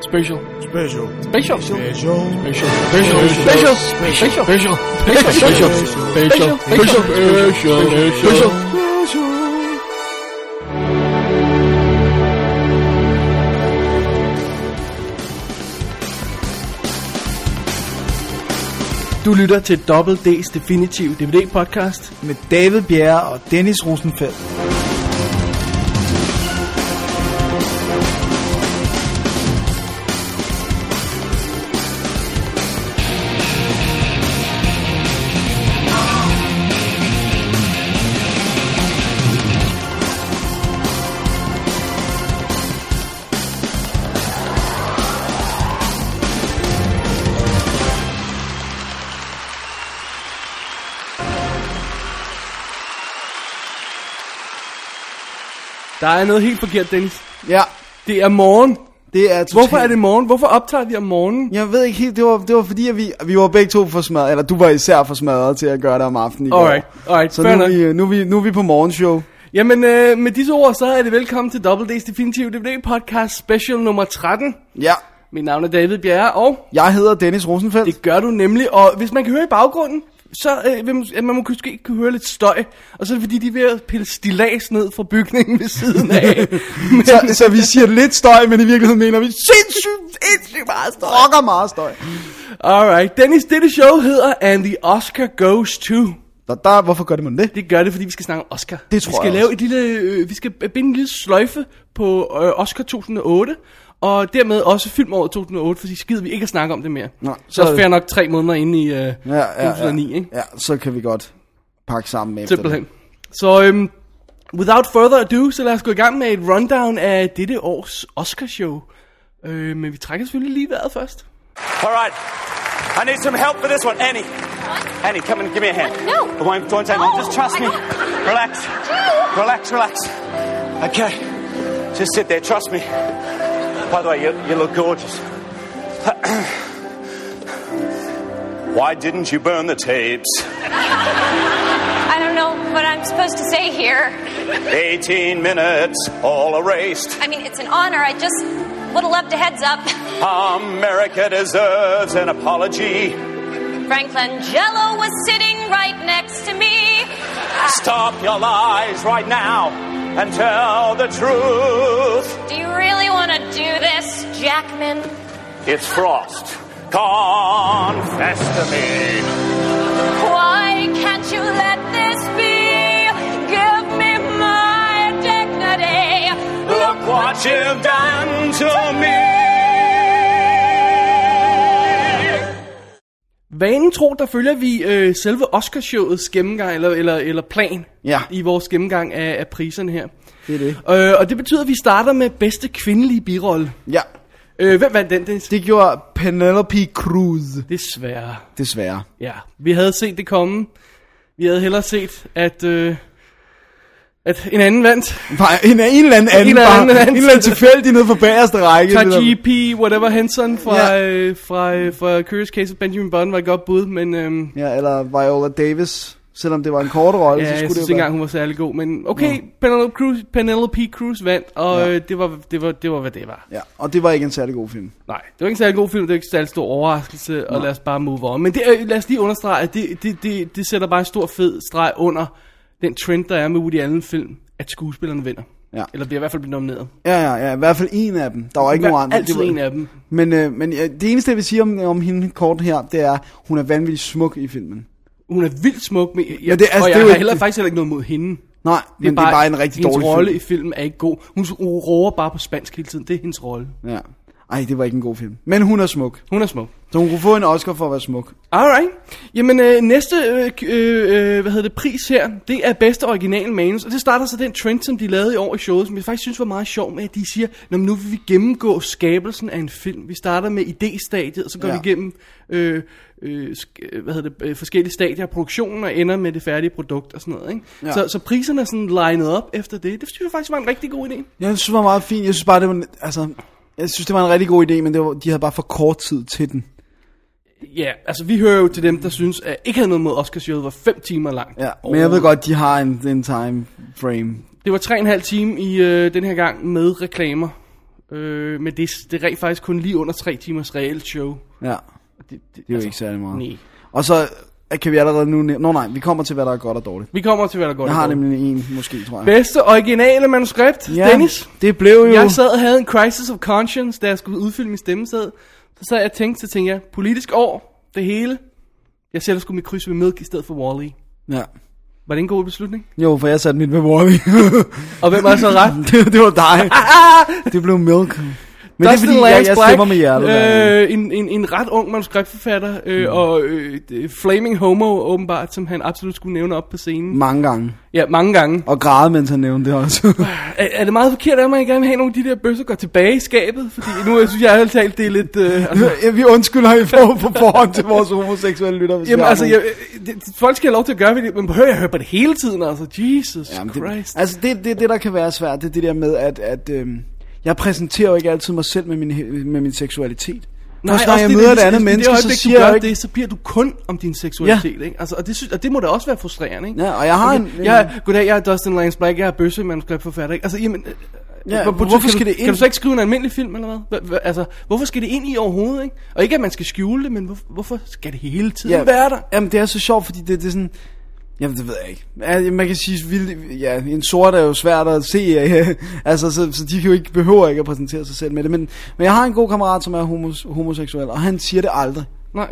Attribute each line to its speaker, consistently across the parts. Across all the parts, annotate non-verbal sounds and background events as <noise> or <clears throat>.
Speaker 1: Special.
Speaker 2: Special.
Speaker 1: Special. Special. Special.
Speaker 2: Special.
Speaker 1: Special. Special. Special. Special. Special. Special. Special. Special. Special.
Speaker 3: Du lytter til Double D's Definitive DVD podcast.
Speaker 2: Med David Bjerre og Dennis Rosenfeldt.
Speaker 3: Der er noget helt forkert, Dennis.
Speaker 2: Ja,
Speaker 3: Det er morgen.
Speaker 2: det er totalt...
Speaker 3: Hvorfor er det morgen? Hvorfor optager vi om morgenen?
Speaker 2: Jeg ved ikke helt, det var, det var fordi, at vi, vi var begge to for smadret, eller du var især for smadret til at gøre det om aftenen i går.
Speaker 3: Alright, alright,
Speaker 2: Så nu
Speaker 3: fair
Speaker 2: er,
Speaker 3: nok.
Speaker 2: vi, nu, er vi, nu er vi på morgenshow.
Speaker 3: Jamen, øh, med disse ord, så er det velkommen til Double D's Definitive DVD podcast special nummer 13.
Speaker 2: Ja,
Speaker 3: Mit navn er David Bjerre, og
Speaker 2: jeg hedder Dennis Rosenfeldt.
Speaker 3: det gør du nemlig. Og hvis man kan høre i baggrunden, så øh, vil man, øh, man må måske ikke kunne høre lidt støj. Og så er det fordi, de er ved at pille stilas ned fra bygningen ved siden
Speaker 2: <laughs>
Speaker 3: af. Men,
Speaker 2: så, så vi siger lidt støj, men i virkeligheden mener vi sindssygt, sindssygt meget støj. Rocker meget støj.
Speaker 3: alright, Dennis, dette show hedder And the Oscar Goes To.
Speaker 2: Der, der, hvorfor gør det man det?
Speaker 3: Det gør det, fordi vi skal snakke om Oscar.
Speaker 2: Det tror
Speaker 3: vi skal
Speaker 2: jeg
Speaker 3: lave
Speaker 2: også.
Speaker 3: et lille, øh, vi skal binde en lille sløjfe på øh, Oscar 2008, og dermed også filmåret 2008, fordi skider vi ikke at snakke om det mere.
Speaker 2: Nej,
Speaker 3: så er
Speaker 2: så-
Speaker 3: det fair nok tre måneder inde i øh, ja, ja, 2009, ikke?
Speaker 2: ja, så kan vi godt pakke sammen efter
Speaker 3: Simpelthen. Så øhm, without further ado, så lad os gå i gang med et rundown af dette års Oscarshow. Øh, men vi trækker selvfølgelig lige vejret først.
Speaker 4: All right. I need some help for this one. Annie. Annie, come and give me a hand.
Speaker 5: No.
Speaker 4: Come on, don't take
Speaker 5: No,
Speaker 4: Just trust
Speaker 5: I
Speaker 4: me.
Speaker 5: don't-
Speaker 4: Relax.
Speaker 5: No.
Speaker 4: Relax, relax. Okay. Just sit there. Trust me. By the way, you, you look gorgeous. <clears throat> Why didn't you burn the tapes?
Speaker 5: I don't know what I'm supposed to say here.
Speaker 4: 18 minutes, all erased.
Speaker 5: I mean, it's an honor. I just would have loved a heads up. <laughs>
Speaker 4: America deserves an apology.
Speaker 5: Franklin Jello was sitting right next to me.
Speaker 4: Stop your lies right now and tell the truth.
Speaker 5: Do you really want to do this, Jackman?
Speaker 4: It's frost. Confess to me.
Speaker 5: Why can't you let this be? Give me my dignity.
Speaker 4: Look what you've done to me.
Speaker 3: Vanen tro, der følger vi øh, selve Oscarshowets gennemgang, eller, eller, eller plan,
Speaker 2: Ja.
Speaker 3: i vores gennemgang af, af priserne her.
Speaker 2: Det er det.
Speaker 3: Øh, og det betyder, at vi starter med bedste kvindelige birolle.
Speaker 2: det. Ja,
Speaker 3: Øh, hvem vandt den, Dennis?
Speaker 2: det gjorde Penelope Cruz,
Speaker 3: Desværre.
Speaker 2: desværre.
Speaker 3: Ja, vi havde set det komme. Vi havde hellere set, at, øh, at en anden vandt.
Speaker 2: Nej, en, en eller anden anden,
Speaker 3: eller
Speaker 2: bare-
Speaker 3: anden anden.
Speaker 2: en eller anden tilfældig nede på bagerste række.
Speaker 3: Taji P. whatever Henson fra,
Speaker 2: Ja.
Speaker 3: øh, fra, øh, fra Curious Case of Benjamin Button var et godt bud, men øhm,
Speaker 2: Ja, eller Viola Davis, selvom det var en kort rolle,
Speaker 3: ja,
Speaker 2: så
Speaker 3: jeg
Speaker 2: skulle
Speaker 3: synes
Speaker 2: det
Speaker 3: ikke
Speaker 2: jo
Speaker 3: engang,
Speaker 2: være...
Speaker 3: hun var særlig god. Men okay, Penelope Cruz, Penelope Cruz vandt, og
Speaker 2: Ja.
Speaker 3: øh, det, var, det, var, det var, hvad det var.
Speaker 2: Ja, og det var ikke en særlig god film.
Speaker 3: Nej, det var ikke en særlig god film, det var ikke en særlig stor overraskelse, og lad os bare move on. Men det, øh, lad os lige understrege, at det, det, det, det sætter bare en stor fed streg under den trend, der er med Woody Allen-film, at skuespillerne vinder.
Speaker 2: Ja.
Speaker 3: Eller bliver i hvert fald nomineret.
Speaker 2: Ja, ja, ja, i hvert fald en af dem. Der var ikke
Speaker 3: Hver-
Speaker 2: nogen andre.
Speaker 3: altid
Speaker 2: Det var-
Speaker 3: en af dem.
Speaker 2: Men, øh, men ja, det eneste, jeg vil sige om, om hende kort her, det er, hun er vanvittigt smuk i filmen.
Speaker 3: Hun er vildt smuk, men jeg, ja,
Speaker 2: det er-
Speaker 3: det,
Speaker 2: altså, det
Speaker 3: og
Speaker 2: er
Speaker 3: jeg
Speaker 2: jo
Speaker 3: har
Speaker 2: ikke-
Speaker 3: heller, faktisk heller ikke noget mod hende.
Speaker 2: Nej, men det er bare en rigtig
Speaker 3: hendes
Speaker 2: dårlig
Speaker 3: rolle
Speaker 2: film.
Speaker 3: i filmen er ikke god. Hun s- hun råber bare på spansk hele tiden. Det er hendes rolle.
Speaker 2: Ja. Ej, det var ikke en god film. Men hun er smuk.
Speaker 3: Hun er smuk.
Speaker 2: Så hun kunne få en Oscar for at være smuk.
Speaker 3: Alright. Jamen, øh, næste øh, k- øh, øh, hvad hedder det, pris her, det er bedste original manus. Og det starter så den trend, som de lavede i år i showet, som jeg faktisk synes var meget sjov med, at de siger, Nå, men nu vil vi gennemgå skabelsen af en film. Vi starter med idéstadiet, og så går
Speaker 2: Ja.
Speaker 3: ja. vi igennem øh, øh, sk- øh, hvad hedder det, øh, forskellige stadier af produktionen, og ender med det færdige produkt og sådan noget. Ikke?
Speaker 2: Ja.
Speaker 3: Ja. Så, så priserne er sådan lined op efter det. Det synes jeg faktisk var en rigtig god idé.
Speaker 2: Jeg synes, det var meget fint. Jeg synes bare, det var... Altså, jeg synes, det var en rigtig god idé, men det var, de havde bare for kort tid til den.
Speaker 3: Ja, altså vi hører jo til dem, der synes, at ikke havde noget mod Oscarshowet, var 5 timer langt.
Speaker 2: Ja, men jeg ved godt, de har en, en time frame.
Speaker 3: Det var 3,5 time i øh, den her gang med reklamer. Øh, men det, er- det er rent faktisk kun lige under tre timers reelt show.
Speaker 2: Ja,
Speaker 3: Det, det,
Speaker 2: det er jo ikke særlig meget.
Speaker 3: Nej.
Speaker 2: Og så øh, kan vi allerede nu... næ- Nå nej, vi kommer til, hvad der er godt og dårligt.
Speaker 3: Vi kommer til, hvad der går.
Speaker 2: Jeg har
Speaker 3: det
Speaker 2: nemlig en, måske, tror jeg.
Speaker 3: Bedste originale manuskript, ja. Dennis.
Speaker 2: det blev jo...
Speaker 3: Jeg sad og havde en crisis of conscience, da jeg skulle udfylde min stemmesæd. Så sad jeg og tænkte, så tænkte jeg, politisk år, det hele. Jeg sætter sgu mit kryds ved Milk i stedet for Wall-E.
Speaker 2: Ja.
Speaker 3: Var det en god beslutning?
Speaker 2: Jo, for jeg satte mit ved Wally.
Speaker 3: Og hvem <laughs> var så ret?
Speaker 2: <laughs> det, det var dig.
Speaker 3: Ah!
Speaker 2: det blev Milk. Men det er
Speaker 3: Dustin
Speaker 2: fordi, jeg,
Speaker 3: Lance
Speaker 2: jeg
Speaker 3: Black,
Speaker 2: stemmer med hjertet. Øh,
Speaker 3: Øh, en, en, en ret ung manuskriptforfatter, øh, mm. og øh, det- Flaming Homo åbenbart, som han absolut skulle nævne op på scenen.
Speaker 2: Mange gange.
Speaker 3: Ja, mange gange.
Speaker 2: Og græde, mens han nævnte det også.
Speaker 3: Er, er det meget forkert af mig, at jeg gerne vil have nogle af de der bøsser går tilbage i skabet? Fordi nu jeg synes jeg helt talt, det er
Speaker 2: <laughs>
Speaker 3: lidt... Øh, altså,
Speaker 2: ja, vi undskylder i for, på forhånd til vores homoseksuelle lytter. hvis vi
Speaker 3: Jamen
Speaker 2: har
Speaker 3: altså,
Speaker 2: nogen.
Speaker 3: jeg, det, det- folk skal have lov til at gøre ved det, men hør, jeg hører på det hele tiden, altså. Jesus
Speaker 2: Jamen,
Speaker 3: Christ.
Speaker 2: det, altså det, det, det, der kan være svært, det er det der med, at, at øhm, jeg præsenterer jo ikke altid mig selv med min, he- med min seksualitet. Nej, Først, når
Speaker 3: også
Speaker 2: jeg
Speaker 3: det,
Speaker 2: møder
Speaker 3: det,
Speaker 2: et andet
Speaker 3: det,
Speaker 2: menneske,
Speaker 3: det,
Speaker 2: så
Speaker 3: øjeblik,
Speaker 2: siger
Speaker 3: du
Speaker 2: jeg
Speaker 3: gør
Speaker 2: jo ikke...
Speaker 3: det, så bliver du kun om din seksualitet, ja. ikke? Altså, og, det, sy- og det må da også være frustrerende, ikke?
Speaker 2: Ja, og jeg har en... en
Speaker 3: Jeg, er- Ah, goddag, jeg er Dustin Lance Black, jeg er bøssemanuskriptforfatter, ikke? Altså, jamen... øh,
Speaker 2: Ja,
Speaker 3: hvor- hvor-
Speaker 2: hvorfor
Speaker 3: kan
Speaker 2: skal
Speaker 3: du,
Speaker 2: det ind?
Speaker 3: Kan du så ikke skrive en almindelig film, eller hvad? Hva- hva- Altså, hvorfor skal det ind i overhovedet, ikke? Og ikke, at man skal skjule det, men hvor, hvorfor skal det hele tiden
Speaker 2: Ja.
Speaker 3: være der?
Speaker 2: Jamen, det er så sjovt, fordi det, det er sådan... Jamen, det ved jeg ikke. Ja, Man kan sige, vildt, ja, en sort er jo svært at se, ja. <laughs> altså, så, så de kan jo ikke, behøver ikke at præsentere sig selv med det. Men, men jeg har en god kammerat, som er homos, homoseksuel, og han siger det aldrig.
Speaker 3: Nej.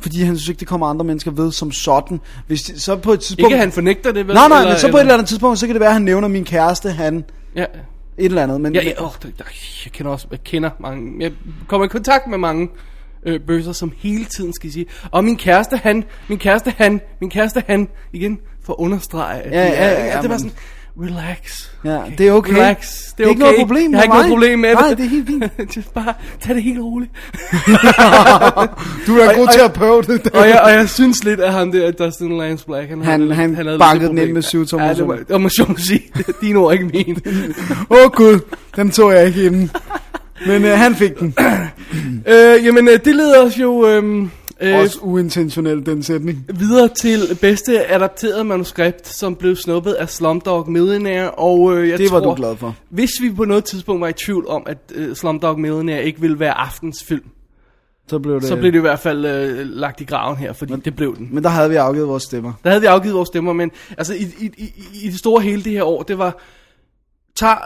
Speaker 2: Fordi han synes ikke, det kommer andre mennesker ved som sådan. Hvis de, så på et tidspunkt...
Speaker 3: Ikke, at han fornægter det, vel?
Speaker 2: Nej, nej, eller, men så på et eller andet tidspunkt, så kan det være, at han nævner min kæreste, han, et
Speaker 3: Ja,
Speaker 2: eller andet. Men,
Speaker 3: ja, ja åh, det, ej, jeg kender også, jeg kender mange, jeg kommer i kontakt med mange øh, bøsser, som hele tiden skal sige, og min kæreste han, min kæreste han, min kæreste han, igen, for at understrege. at
Speaker 2: Ja,
Speaker 3: de er-
Speaker 2: ja, ja,
Speaker 3: ikke? Og det var
Speaker 2: men-
Speaker 3: sådan, relax.
Speaker 2: Ja, det er okay.
Speaker 3: Relax. Det er,
Speaker 2: Det er ikke
Speaker 3: okay.
Speaker 2: noget problem
Speaker 3: Jeg
Speaker 2: med
Speaker 3: har ikke noget
Speaker 2: mig.
Speaker 3: problem med
Speaker 2: Nej,
Speaker 3: det.
Speaker 2: det er helt fint.
Speaker 3: <laughs> Just bare tag det helt
Speaker 2: <laughs>
Speaker 3: roligt.
Speaker 2: <laughs> du er en god
Speaker 3: og-
Speaker 2: terapeut. det
Speaker 3: og, jeg, og jeg synes lidt af ham der, Dustin Lance Black. Han,
Speaker 2: Han-
Speaker 3: havde-
Speaker 2: han
Speaker 3: havde lidt
Speaker 2: bankede
Speaker 3: et
Speaker 2: den ind
Speaker 3: problem.
Speaker 2: med syv tommer,
Speaker 3: Ja, det var, det var så må sige. <laughs> Det er Dine ord, ikke mine.
Speaker 2: <laughs>
Speaker 3: <laughs>
Speaker 2: Åh oh, gud, den tog jeg ikke inden. Men øh, han fik <laughs> den.
Speaker 3: Øh, jamen, øh, det leder os jo øh, øh,
Speaker 2: Også uintentionelt, den sætning.
Speaker 3: videre til bedste adapteret manuskript, som blev snuppet af Slumdog Millionaire, og øh, jeg
Speaker 2: Det var
Speaker 3: tror,
Speaker 2: du glad for.
Speaker 3: Hvis vi på noget tidspunkt var i tvivl om, at øh, Slumdog Millionaire ikke ville være aftens film,
Speaker 2: Så blev det...
Speaker 3: så blev det i hvert fald øh, lagt i graven her, fordi det blev den.
Speaker 2: Men der havde vi afgivet vores stemmer.
Speaker 3: Der havde vi afgivet vores stemmer, men altså i, i, i, i det store hele det her år, det var, tag,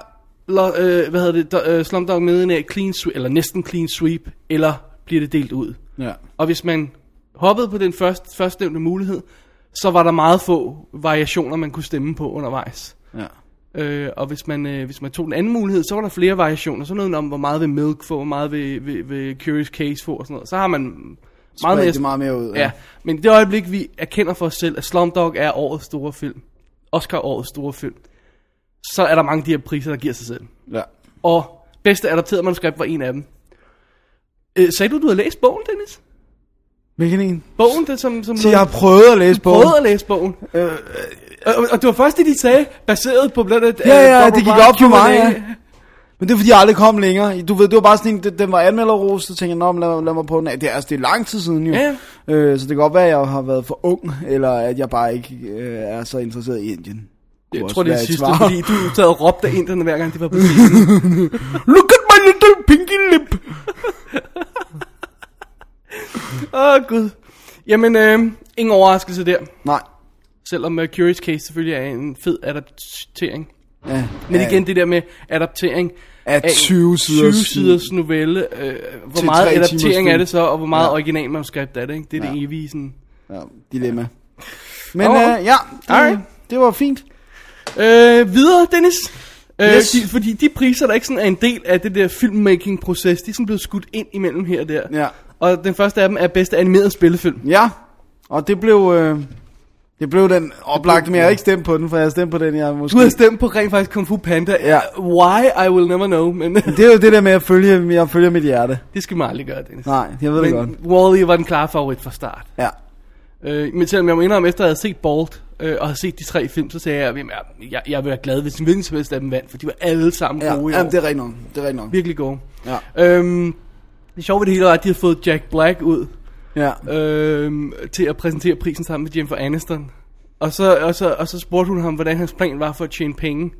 Speaker 3: lo- øh, hvad hedder det, do, øh, Slumdog Millionaire clean sweep, eller næsten clean sweep, eller bliver det delt ud?
Speaker 2: Ja.
Speaker 3: Og hvis man hoppede på den først, førstnævnte mulighed, så var der meget få variationer, man kunne stemme på undervejs.
Speaker 2: ja.
Speaker 3: Øh, og hvis man, øh, hvis man tog den anden mulighed, så var der flere variationer. Sådan noget om, hvor meget vil Milk få, hvor meget vil, vil, vil Curious Case få og sådan noget. Så har man meget
Speaker 2: Spredt
Speaker 3: mere...
Speaker 2: det meget mere ud.
Speaker 3: Ja, men i det øjeblik, vi erkender for os selv, at Slumdog er årets store film, Oscar-årets store film, så er der mange af de her priser, der giver sig selv.
Speaker 2: ja.
Speaker 3: Og bedste adapterede manuskript var en af dem. Øh, sagde du, du havde læst bogen, Dennis?
Speaker 2: Hvilken en?
Speaker 3: Bogen, det som... som
Speaker 2: Så jeg har prøvet at læse bogen.
Speaker 3: prøvet at læse bogen. Øh, og, og det var først det, de sagde, baseret på blandt andet...
Speaker 2: Ja,
Speaker 3: øh,
Speaker 2: ja,
Speaker 3: Robert
Speaker 2: det gik
Speaker 3: Bryant
Speaker 2: op for mig,
Speaker 3: Q&A.
Speaker 2: ja. Men det er fordi, jeg aldrig kom længere. Du ved, det var bare sådan en, det- den var anmelderros, så tænkte jeg, nå, men lad, lad mig prøve den af. Det er, altså, det er lang tid siden jo.
Speaker 3: Ja.
Speaker 2: Øh, så det kan godt være, at jeg har været for ung, eller at jeg bare ikke øh, er så interesseret i Indien.
Speaker 3: Jeg
Speaker 2: også
Speaker 3: tror, det er
Speaker 2: være
Speaker 3: det
Speaker 2: et
Speaker 3: sidste,
Speaker 2: svar.
Speaker 3: fordi du sad og råbte af inderne, hver gang de var på scenen.
Speaker 2: <laughs> Look at my little pinky lip! Mm.
Speaker 3: Åh, oh, gud. Jamen, øh, ingen overraskelse der.
Speaker 2: Nej.
Speaker 3: Selvom uh, Curious Case selvfølgelig er en fed adaptering.
Speaker 2: Ja,
Speaker 3: Men
Speaker 2: ja,
Speaker 3: igen, det der med adaptering
Speaker 2: Af
Speaker 3: en
Speaker 2: 20 siders-
Speaker 3: 20 siders novelle. Øh, hvor
Speaker 2: Til
Speaker 3: meget
Speaker 2: tre timers
Speaker 3: adaptering er
Speaker 2: film.
Speaker 3: det så, og hvor meget
Speaker 2: Ja.
Speaker 3: originalmanuskript er det, ikke? Det er ja. det evige sådan.
Speaker 2: ja, dilemma. Men
Speaker 3: Nå.
Speaker 2: øh, ja, det,
Speaker 3: Alright.
Speaker 2: det var fint.
Speaker 3: Øh, videre, Dennis. Øh,
Speaker 2: Yes.
Speaker 3: de, fordi de priser, der ikke sådan er en del af det der filmmaking-proces, de er sådan blevet skudt ind imellem her og der.
Speaker 2: Ja.
Speaker 3: Og den første af dem er bedste animeret spillefilm.
Speaker 2: Ja, og det blev... Øh, det blev den oplagt, men jeg har ikke stemt på den, for jeg har stemt på den, jeg måske...
Speaker 3: Du har stemt på rent faktisk Kung Fu Panda.
Speaker 2: Ja.
Speaker 3: Why, I will never know, men <laughs>
Speaker 2: Det er jo det der med at følge, jeg følger mit hjerte.
Speaker 3: det skal man aldrig gøre, Dennis.
Speaker 2: Nej, jeg ved det godt.
Speaker 3: Men Wall-E var den klare favorit fra start.
Speaker 2: Ja.
Speaker 3: Øh, men selvom jeg må indrømme, efter jeg havde set Bolt, øh, og havde set de tre film, så sagde jeg, at jamen, jeg, jeg, jeg ville være glad, hvis en hvilken som helst af dem vandt, for de var alle sammen
Speaker 2: Ja,
Speaker 3: gode i
Speaker 2: jamen,
Speaker 3: år.
Speaker 2: det er rigtigt nok. Det er rigtigt nok.
Speaker 3: Virkelig gode.
Speaker 2: Ja.
Speaker 3: Øhm, det sjove ved det hele var, at de havde fået Jack Black ud
Speaker 2: Ja.
Speaker 3: øhm, til at præsentere prisen sammen med Jennifer Aniston. Og så, og, så, og så spurgte hun ham, hvordan hans plan var for at tjene penge.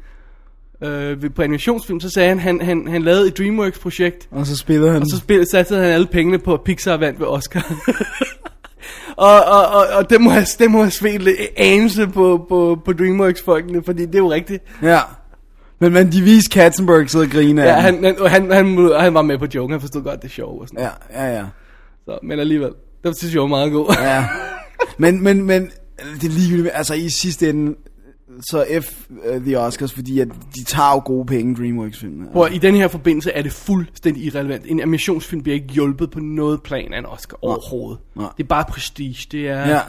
Speaker 3: øh, ved- på animationsfilm, så sagde han, han, han, han lavede et DreamWorks-projekt,
Speaker 2: Og så spiller han.
Speaker 3: og så spil, satte han alle pengene på, at Pixar vandt ved Oscar. <laughs> og, og, og, og det må have, det må have svedt lidt anelse på, på, på DreamWorks-folkene, fordi det er jo rigtigt.
Speaker 2: Ja. Men, men de viste Katzenberg sidder og griner af
Speaker 3: Ja,
Speaker 2: den.
Speaker 3: han, han, han, han, må- han var med på joken, han forstod godt det sjov og sådan noget.
Speaker 2: Ja, ja, ja.
Speaker 3: Så, men alligevel, det synes jeg var meget god.
Speaker 2: ja. Men, men, men, det er ligegyldigt, altså i sidste ende, så F uh, The Oscars, fordi at de tager jo gode penge, DreamWorks-filmene.
Speaker 3: Prøv, at- i den her forbindelse er det fuldstændig irrelevant. En animationsfilm bliver ikke hjulpet på noget plan af en Oscar overhovedet.
Speaker 2: Nej.
Speaker 3: Det er bare prestige. Det er...
Speaker 2: Ja.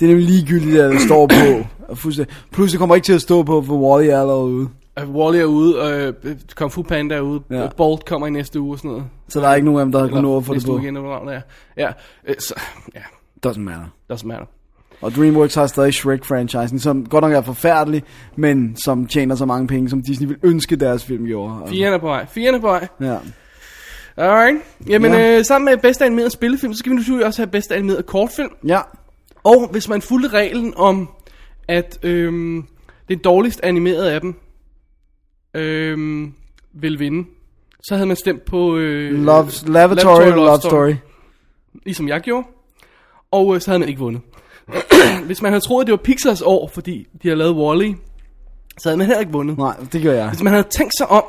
Speaker 2: Det er nemlig ligegyldigt, at det står på. Og fuldstændig- Plus, det kommer ikke til at stå på, for Wall-E er allerede ude.
Speaker 3: At Wall-E er ude, øh, Kung Fu Panda er ude,
Speaker 2: Ja.
Speaker 3: ja. Bolt kommer i næste uge og sådan noget.
Speaker 2: Så der er ikke nogen af dem, der har kunnet nå at få
Speaker 3: Eller
Speaker 2: det
Speaker 3: næste
Speaker 2: på.
Speaker 3: uge igen, eller hvornår det er. Ja, øh, så, ja,
Speaker 2: Doesn't matter.
Speaker 3: doesn't matter.
Speaker 2: Og DreamWorks har stadig Shrek-franchisen, som godt nok er forfærdelig, men som tjener så mange penge, som Disney ville ønske deres film gjorde. Og-
Speaker 3: Firen er på vej. Firen er på vej.
Speaker 2: Ja.
Speaker 3: Alright. Jamen,
Speaker 2: Ja.
Speaker 3: ja. øh, sammen med bedste animeret spillefilm, så skal vi naturligvis også have bedste animeret kortfilm.
Speaker 2: Ja.
Speaker 3: Og hvis man fulgte reglen om, at øhm, den dårligst animerede af dem øhm, vil vinde, så havde man stemt på... Øh,
Speaker 2: Love, Lavatory og Love Story.
Speaker 3: Ligesom jeg gjorde. Og øh, så havde man ikke vundet. <clears throat> hvis man havde troet, at det var Pixars år, fordi de har lavet Wall-E, så havde man heller ikke vundet.
Speaker 2: Nej, det gør jeg.
Speaker 3: Hvis man havde tænkt sig om,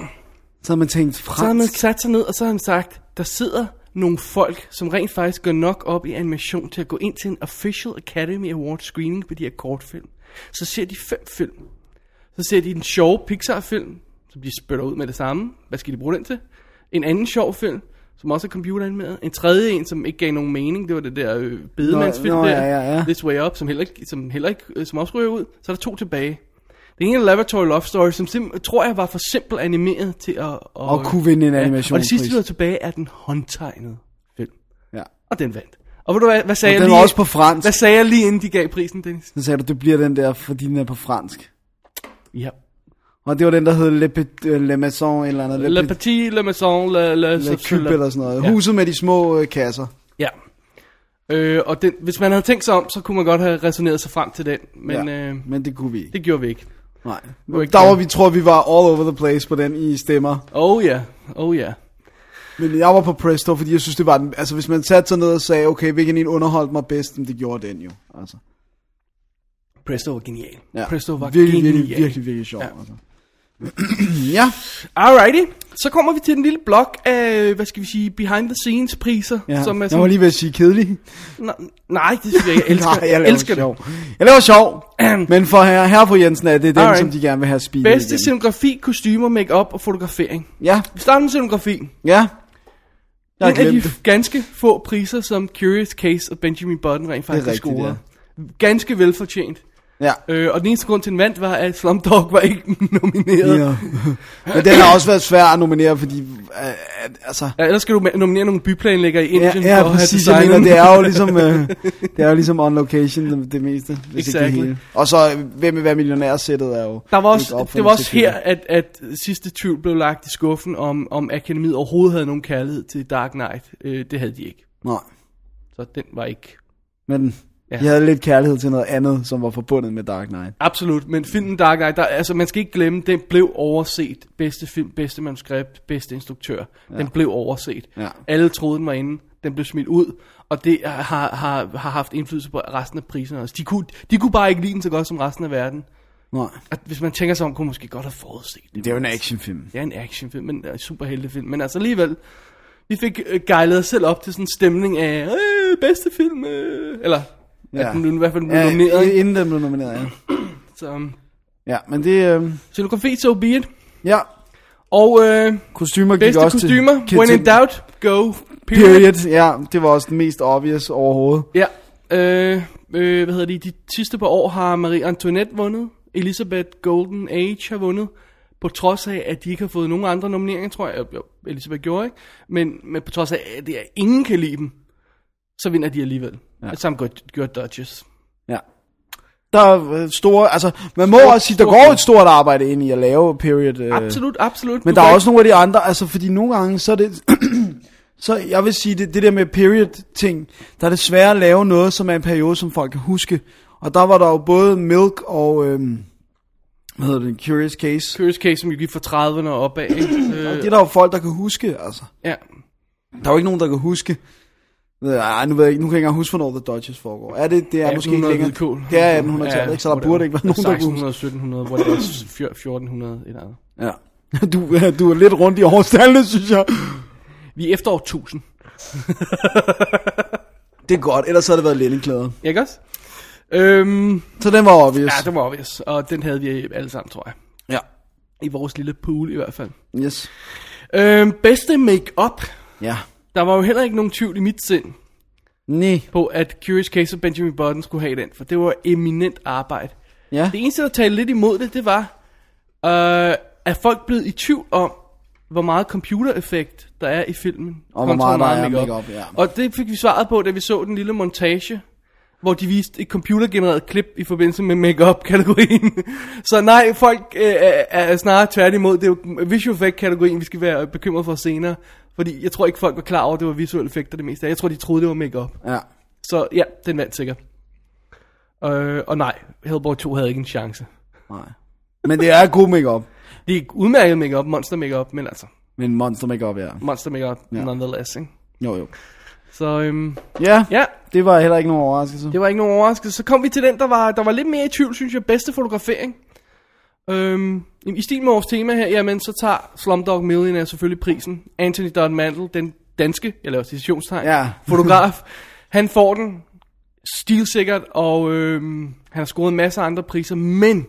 Speaker 2: Så har man tænkt,
Speaker 3: så havde man
Speaker 2: fransk.
Speaker 3: sat sig ned, og så havde man sagt, der sidder nogle folk, som rent faktisk går nok op i animation til at gå ind til en official Academy Award screening på de her kortfilm. Så ser de fem film. Så ser de en sjov Pixar-film, som de spytter ud med det samme. Hvad skal de bruge den til? En anden sjov film, som også er computeranimeret. En tredje en, som ikke gav nogen mening. Det var det der øh, bedemandsfilm
Speaker 2: Nå, nå,
Speaker 3: der.
Speaker 2: ja, ja, ja.
Speaker 3: This Way Up, som heller ikke, som heller ikke øh, som også ryger ud. Så er der to tilbage. Den ene er Laboratory Love Story, som sim- tror jeg var for simpelt animeret til at...
Speaker 2: Og kunne vinde en animationspris.
Speaker 3: Og det sidste, vi var tilbage, er den håndtegnede film.
Speaker 2: Ja.
Speaker 3: Og den vandt. Og ved du hvad, hvad sagde
Speaker 2: Og
Speaker 3: jeg
Speaker 2: den
Speaker 3: lige?
Speaker 2: var også på fransk.
Speaker 3: Hvad sagde jeg lige, inden de gav prisen, Dennis?
Speaker 2: Så sagde du, det bliver den der, fordi den er på fransk.
Speaker 3: Ja.
Speaker 2: Og det var den, der hed Le, Pet, øh, Le Maison, eller andet. Le,
Speaker 3: Le
Speaker 2: Le,
Speaker 3: Petit, Le Maison, Le... Le,
Speaker 2: Le Cube, eller sådan noget.
Speaker 3: Ja.
Speaker 2: Huset med de små øh, kasser.
Speaker 3: Ja. Øh, og den, hvis man havde tænkt sig om, så kunne man godt have resoneret sig frem til den. Men
Speaker 2: ja.
Speaker 3: ja. øh,
Speaker 2: men det kunne vi ikke.
Speaker 3: det gjorde vi ikke.
Speaker 2: Nej.
Speaker 3: var ikke
Speaker 2: Der var
Speaker 3: godt.
Speaker 2: vi, tror vi var all over the place på den i stemmer.
Speaker 3: Oh ja, yeah. oh ja. Yeah.
Speaker 2: Men jeg var på Presto, fordi jeg synes, det var den... Altså, hvis man satte sig ned og sagde, okay, hvilken en underholdt mig bedst, men det gjorde den jo. Altså.
Speaker 3: Presto var genial.
Speaker 2: Ja.
Speaker 3: Presto var
Speaker 2: virkelig,
Speaker 3: genial.
Speaker 2: virkelig, virkelig, virkelig sjov. Ja.
Speaker 3: Ja.
Speaker 2: Altså. <clears throat> ja.
Speaker 3: Alrighty, så kommer vi til den lille blok af, hvad skal vi sige, behind the scenes priser.
Speaker 2: ja.
Speaker 3: Som er
Speaker 2: jeg var
Speaker 3: sådan,
Speaker 2: lige ved at sige kedelig.
Speaker 3: lige... Nej, det synes
Speaker 2: <laughs>
Speaker 3: jeg ikke. Jeg <laughs> elsker,
Speaker 2: Nej, jeg laver
Speaker 3: elsker det.
Speaker 2: sjov. Jeg laver sjov. men for herre, herre fru Jensen er det den,
Speaker 3: Alright.
Speaker 2: som de gerne vil have speedet
Speaker 3: Bedste
Speaker 2: igennem.
Speaker 3: scenografi, kostymer, makeup og fotografering.
Speaker 2: Ja,
Speaker 3: Vi starter med scenografien.
Speaker 2: ja. Jeg har
Speaker 3: En af de
Speaker 2: glemt det.
Speaker 3: ganske få priser, som Curious Case og Benjamin Button rent faktisk
Speaker 2: rigtigt,
Speaker 3: scorede. Ganske velfortjent.
Speaker 2: Ja.
Speaker 3: Øh, og den eneste grund til, den vandt, var, at Slumdog var ikke <laughs> nomineret.
Speaker 2: ja. <laughs> men den har også været svær at nominere, fordi... Øh, øh, altså,
Speaker 3: Ja, ellers skal du ma- nominere nogle byplanlægger i
Speaker 2: Ja,
Speaker 3: Indien
Speaker 2: ja
Speaker 3: for
Speaker 2: præcis,
Speaker 3: at
Speaker 2: jeg mener,
Speaker 3: have designet
Speaker 2: det er jo ligesom, øh, det er jo ligesom on location, det, det meste, hvis exactly. ikke
Speaker 3: Exactly.
Speaker 2: det hele. Og så, øh, hvem vil være millionær-sættet er jo...
Speaker 3: Der var
Speaker 2: ikke
Speaker 3: også,
Speaker 2: opfundet
Speaker 3: det var også
Speaker 2: til film.
Speaker 3: her, at, at sidste tvivl blev lagt i skuffen, om, om akademiet overhovedet havde nogen kærlighed til Dark Knight. Øh, det havde de ikke.
Speaker 2: Nej,
Speaker 3: Så den var ikke...
Speaker 2: men ja.
Speaker 3: Ja.
Speaker 2: jeg havde lidt kærlighed til noget andet, som var forbundet med Dark Knight.
Speaker 3: Absolut, men filmen Dark Knight, der, altså man skal ikke glemme, den blev overset. Bedste film, bedste manuskript, bedste instruktør. Den blev overset.
Speaker 2: Ja.
Speaker 3: Alle troede, den var inde. Den blev smidt ud, og det har, har, har haft indflydelse på resten af priserne også. De kunne, de kunne bare ikke lide den så godt som resten af verden.
Speaker 2: Nej,
Speaker 3: At hvis man tænker sig om, kunne man måske godt have forudset det.
Speaker 2: det er jo en actionfilm.
Speaker 3: Det er en actionfilm, men det er en superheltefilm. Men altså alligevel, vi fik øh, gejlet os selv op til sådan en stemning af, øh, bedste film, øh, eller ja.
Speaker 2: Ja.
Speaker 3: at den nu- i hvert fald blev
Speaker 2: Ja,
Speaker 3: nomineret. ikke?
Speaker 2: inden den blev nomineret, ja.
Speaker 3: Så, um,
Speaker 2: Ja, men det... Øh,
Speaker 3: scenografi, so be it.
Speaker 2: ja,
Speaker 3: Og øh,
Speaker 2: kostymer gik
Speaker 3: bedste
Speaker 2: også
Speaker 3: kostymer,
Speaker 2: til...
Speaker 3: when
Speaker 2: til-
Speaker 3: in doubt, go, period.
Speaker 2: Period, ja, det var også den mest obvious overhovedet.
Speaker 3: Ja, øh, øh, hvad hedder det, de sidste par år har Marie Antoinette vundet, Elizabeth Golden Age har vundet, på trods af, at de ikke har fået nogen andre nomineringer, tror jeg, jo, Elizabeth gjorde, ikke? Men, men på trods af, at det er, ingen kan lide dem, så vinder de alligevel. Ja. Samt gjorde, gjorde Dodgers.
Speaker 2: Ja. Der er øh, store, altså, man må
Speaker 3: Store-
Speaker 2: også sige, der
Speaker 3: store
Speaker 2: går
Speaker 3: film.
Speaker 2: et stort arbejde ind i at lave period. Øh,
Speaker 3: Absolut, absolut.
Speaker 2: Men
Speaker 3: Du
Speaker 2: der er
Speaker 3: kan
Speaker 2: også nogle af de andre, altså fordi nogle gange, så er det, <clears throat> så jeg vil sige, det, det der med period-ting, der er det svære at lave noget, som er en periode, som folk kan huske. Og der var der jo både Milk og, øhm, hvad hedder det, Curious Case.
Speaker 3: Curious Case, som jo gik fra 30'erne og opad. ikke? øh,
Speaker 2: Det er der jo folk, der kan huske, altså.
Speaker 3: ja.
Speaker 2: Der er jo ikke nogen, der kan huske. Ej, nu, ved jeg, ikke- nu kan jeg ikke engang huske, hvornår The Dodgers foregår. Er det, det er måske ikke
Speaker 3: 1800
Speaker 2: længere.
Speaker 3: hvidkål.
Speaker 2: Det er 1800-tallet, ikke? Så der
Speaker 3: whatever.
Speaker 2: burde ikke være nogen, der kunne huske.
Speaker 3: 1600, 1700, hvor det er 1400 eller andet.
Speaker 2: Ja. <laughs> Du, du er lidt rundt i årstallene, synes jeg.
Speaker 3: Vi er efter år 1000.
Speaker 2: Det er godt, ellers havde det været lindeklæder.
Speaker 3: Ikke også? Øhm,
Speaker 2: Så den var obvious.
Speaker 3: Ja, det var obvious. Og den havde vi alle sammen, tror jeg.
Speaker 2: ja.
Speaker 3: I vores lille pool i hvert fald.
Speaker 2: Yes.
Speaker 3: Øhm, bedste make-up.
Speaker 2: Ja.
Speaker 3: Der var jo heller ikke nogen tvivl i mit sind
Speaker 2: Nej.
Speaker 3: på, at Curious Case of Benjamin Button skulle have den, for det var eminent arbejde.
Speaker 2: Ja.
Speaker 3: Det eneste, der talte lidt imod det, det var, øh, at folk blev i tvivl om, hvor meget computereffekt der er i filmen.
Speaker 2: Og hvor
Speaker 3: kontra
Speaker 2: meget der er
Speaker 3: makeup.
Speaker 2: makeup, ja.
Speaker 3: Og det fik vi svaret på, da vi så den lille montage, hvor de viste et computergenereret klip i forbindelse med makeup kategorien <laughs> Så nej, folk øh, er, er snarere tværtimod. Det er jo visual effect-kategorien, vi skal være bekymret for senere. Fordi jeg tror ikke, folk var klar over, at det var visuelle effekter det meste. af. Jeg tror, de troede, det var makeup.
Speaker 2: Ja.
Speaker 3: Så ja, den vandt sikkert. Øh, og nej, Hellboy 2 havde ikke en chance.
Speaker 2: Nej. Men det er god makeup.
Speaker 3: Det er udmærket makeup, monster makeup, men altså,
Speaker 2: Men monster makeup ja.
Speaker 3: monster makeup ja. nonetheless, ikke?
Speaker 2: Jo, jo.
Speaker 3: Så øhm,
Speaker 2: Ja.
Speaker 3: ja,
Speaker 2: Det var heller ikke nogen overraskelse.
Speaker 3: det var ikke nogen overraskelse. Så kom vi til den, der var, der var lidt mere i tvivl, synes jeg, bedste fotografering. Øhm, I stil med vores tema her, jamen, så tager Slumdog Millionaire selvfølgelig prisen. Anthony Don Mandel, den danske, jeg laver citationstegn,
Speaker 2: Ja.
Speaker 3: <laughs> fotograf, han får den stilsikkert, og øhm, han har scoret en masse andre priser, men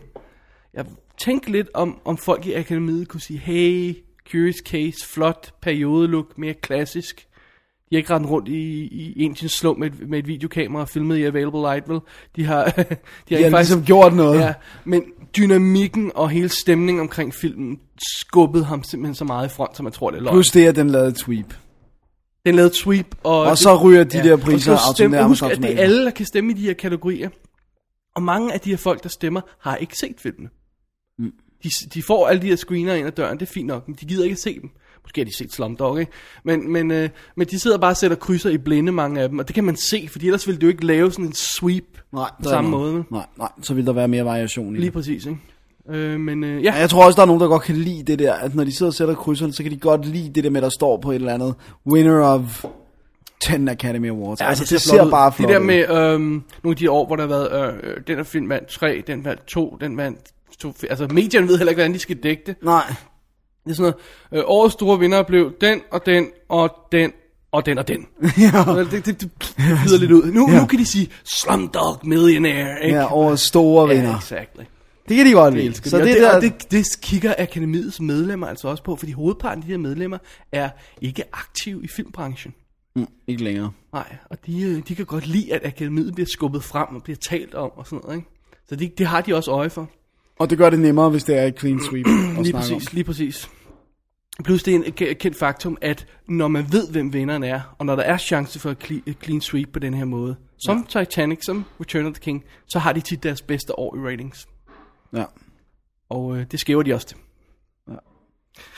Speaker 3: jeg tænkte lidt om, om folk i akademiet kunne sige, hey, Curious Case, flot periodelook, mere klassisk. De har ikke rendt rundt i, i Indiens slum med et, med et videokamera og filmet i Available Light, vel? De har, <laughs> de har
Speaker 2: Jeg
Speaker 3: ikke
Speaker 2: har
Speaker 3: faktisk...
Speaker 2: ligesom gjort noget.
Speaker 3: Ja, men dynamikken og hele stemningen omkring filmen skubbede ham simpelthen så meget i front, som man tror, det er løgn.
Speaker 2: Plus det, at den lavede sweep.
Speaker 3: Den lavede sweep, og...
Speaker 2: Og så ryger de der
Speaker 3: og
Speaker 2: priser
Speaker 3: så stemme,
Speaker 2: automatisk
Speaker 3: husk, at det er
Speaker 2: automatisk.
Speaker 3: alle, der kan stemme i de her kategorier. Og mange af de her folk, der stemmer, har ikke set filmene.
Speaker 2: Mm.
Speaker 3: De, de får alle de her screener ind ad døren, det er fint nok, men de gider ikke se dem. Måske har de set Slumdog, ikke? Men, men, øh, men de sidder bare og sætter krydser i blinde, mange af dem, og det kan man se, fordi ellers ville det jo ikke lave sådan en sweep
Speaker 2: Nej,
Speaker 3: på
Speaker 2: der er
Speaker 3: samme
Speaker 2: noget.
Speaker 3: måde. vel?
Speaker 2: Nej, nej, så vil der være mere variation i
Speaker 3: Lige
Speaker 2: det.
Speaker 3: præcis, ikke? Øh, men øh, ja,
Speaker 2: Ja, Jeg tror også, der er nogen, der godt kan lide det der, at når de sidder og sætter krydserne, så kan de godt lide det der med, der står på et eller andet winner of 10 Academy Awards. Ja, altså, det, det
Speaker 3: flot
Speaker 2: ser
Speaker 3: ud.
Speaker 2: bare flot
Speaker 3: Det der
Speaker 2: ud.
Speaker 3: med øhm, nogle af de år, hvor der har været, øh, øh, den her film vandt 3, den vandt 2, den vandt 2, altså medierne ved heller ikke, hvordan de skal dække det.
Speaker 2: Nej,
Speaker 3: Det er sådan noget, øh, årets store vinder blev den og den og den og den og den. <laughs> ja. Det, det, det, det lyder lidt ud. Nu, ja. nu kan de sige, Slumdog Millionaire, ikke?
Speaker 2: ja, over store
Speaker 3: ja
Speaker 2: vinder.
Speaker 3: exactly.
Speaker 2: Det kan de godt lide.
Speaker 3: elsker så det, det, der... det, det kigger akademiets medlemmer altså også på, fordi hovedparten af de her medlemmer er ikke aktive i filmbranchen.
Speaker 2: Mm, ikke længere.
Speaker 3: Nej, og de, øh, de kan godt lide, at akademiet bliver skubbet frem og bliver talt om og sådan noget, ikke? Så det, det har de også øje for.
Speaker 2: Og det gør det nemmere, hvis det er et
Speaker 3: <clears throat>
Speaker 2: clean sweep at
Speaker 3: Lige
Speaker 2: snakke
Speaker 3: præcis,
Speaker 2: om.
Speaker 3: lige præcis. Plus det er en ke- kendt faktum, at når man ved, hvem vinderen er, og når der er chance for et cle- et clean sweep på den her måde, som ja. Titanic, som Return of the King, så har de tit deres bedste år i ratings.
Speaker 2: Ja.
Speaker 3: Og øh, det skæver de også til.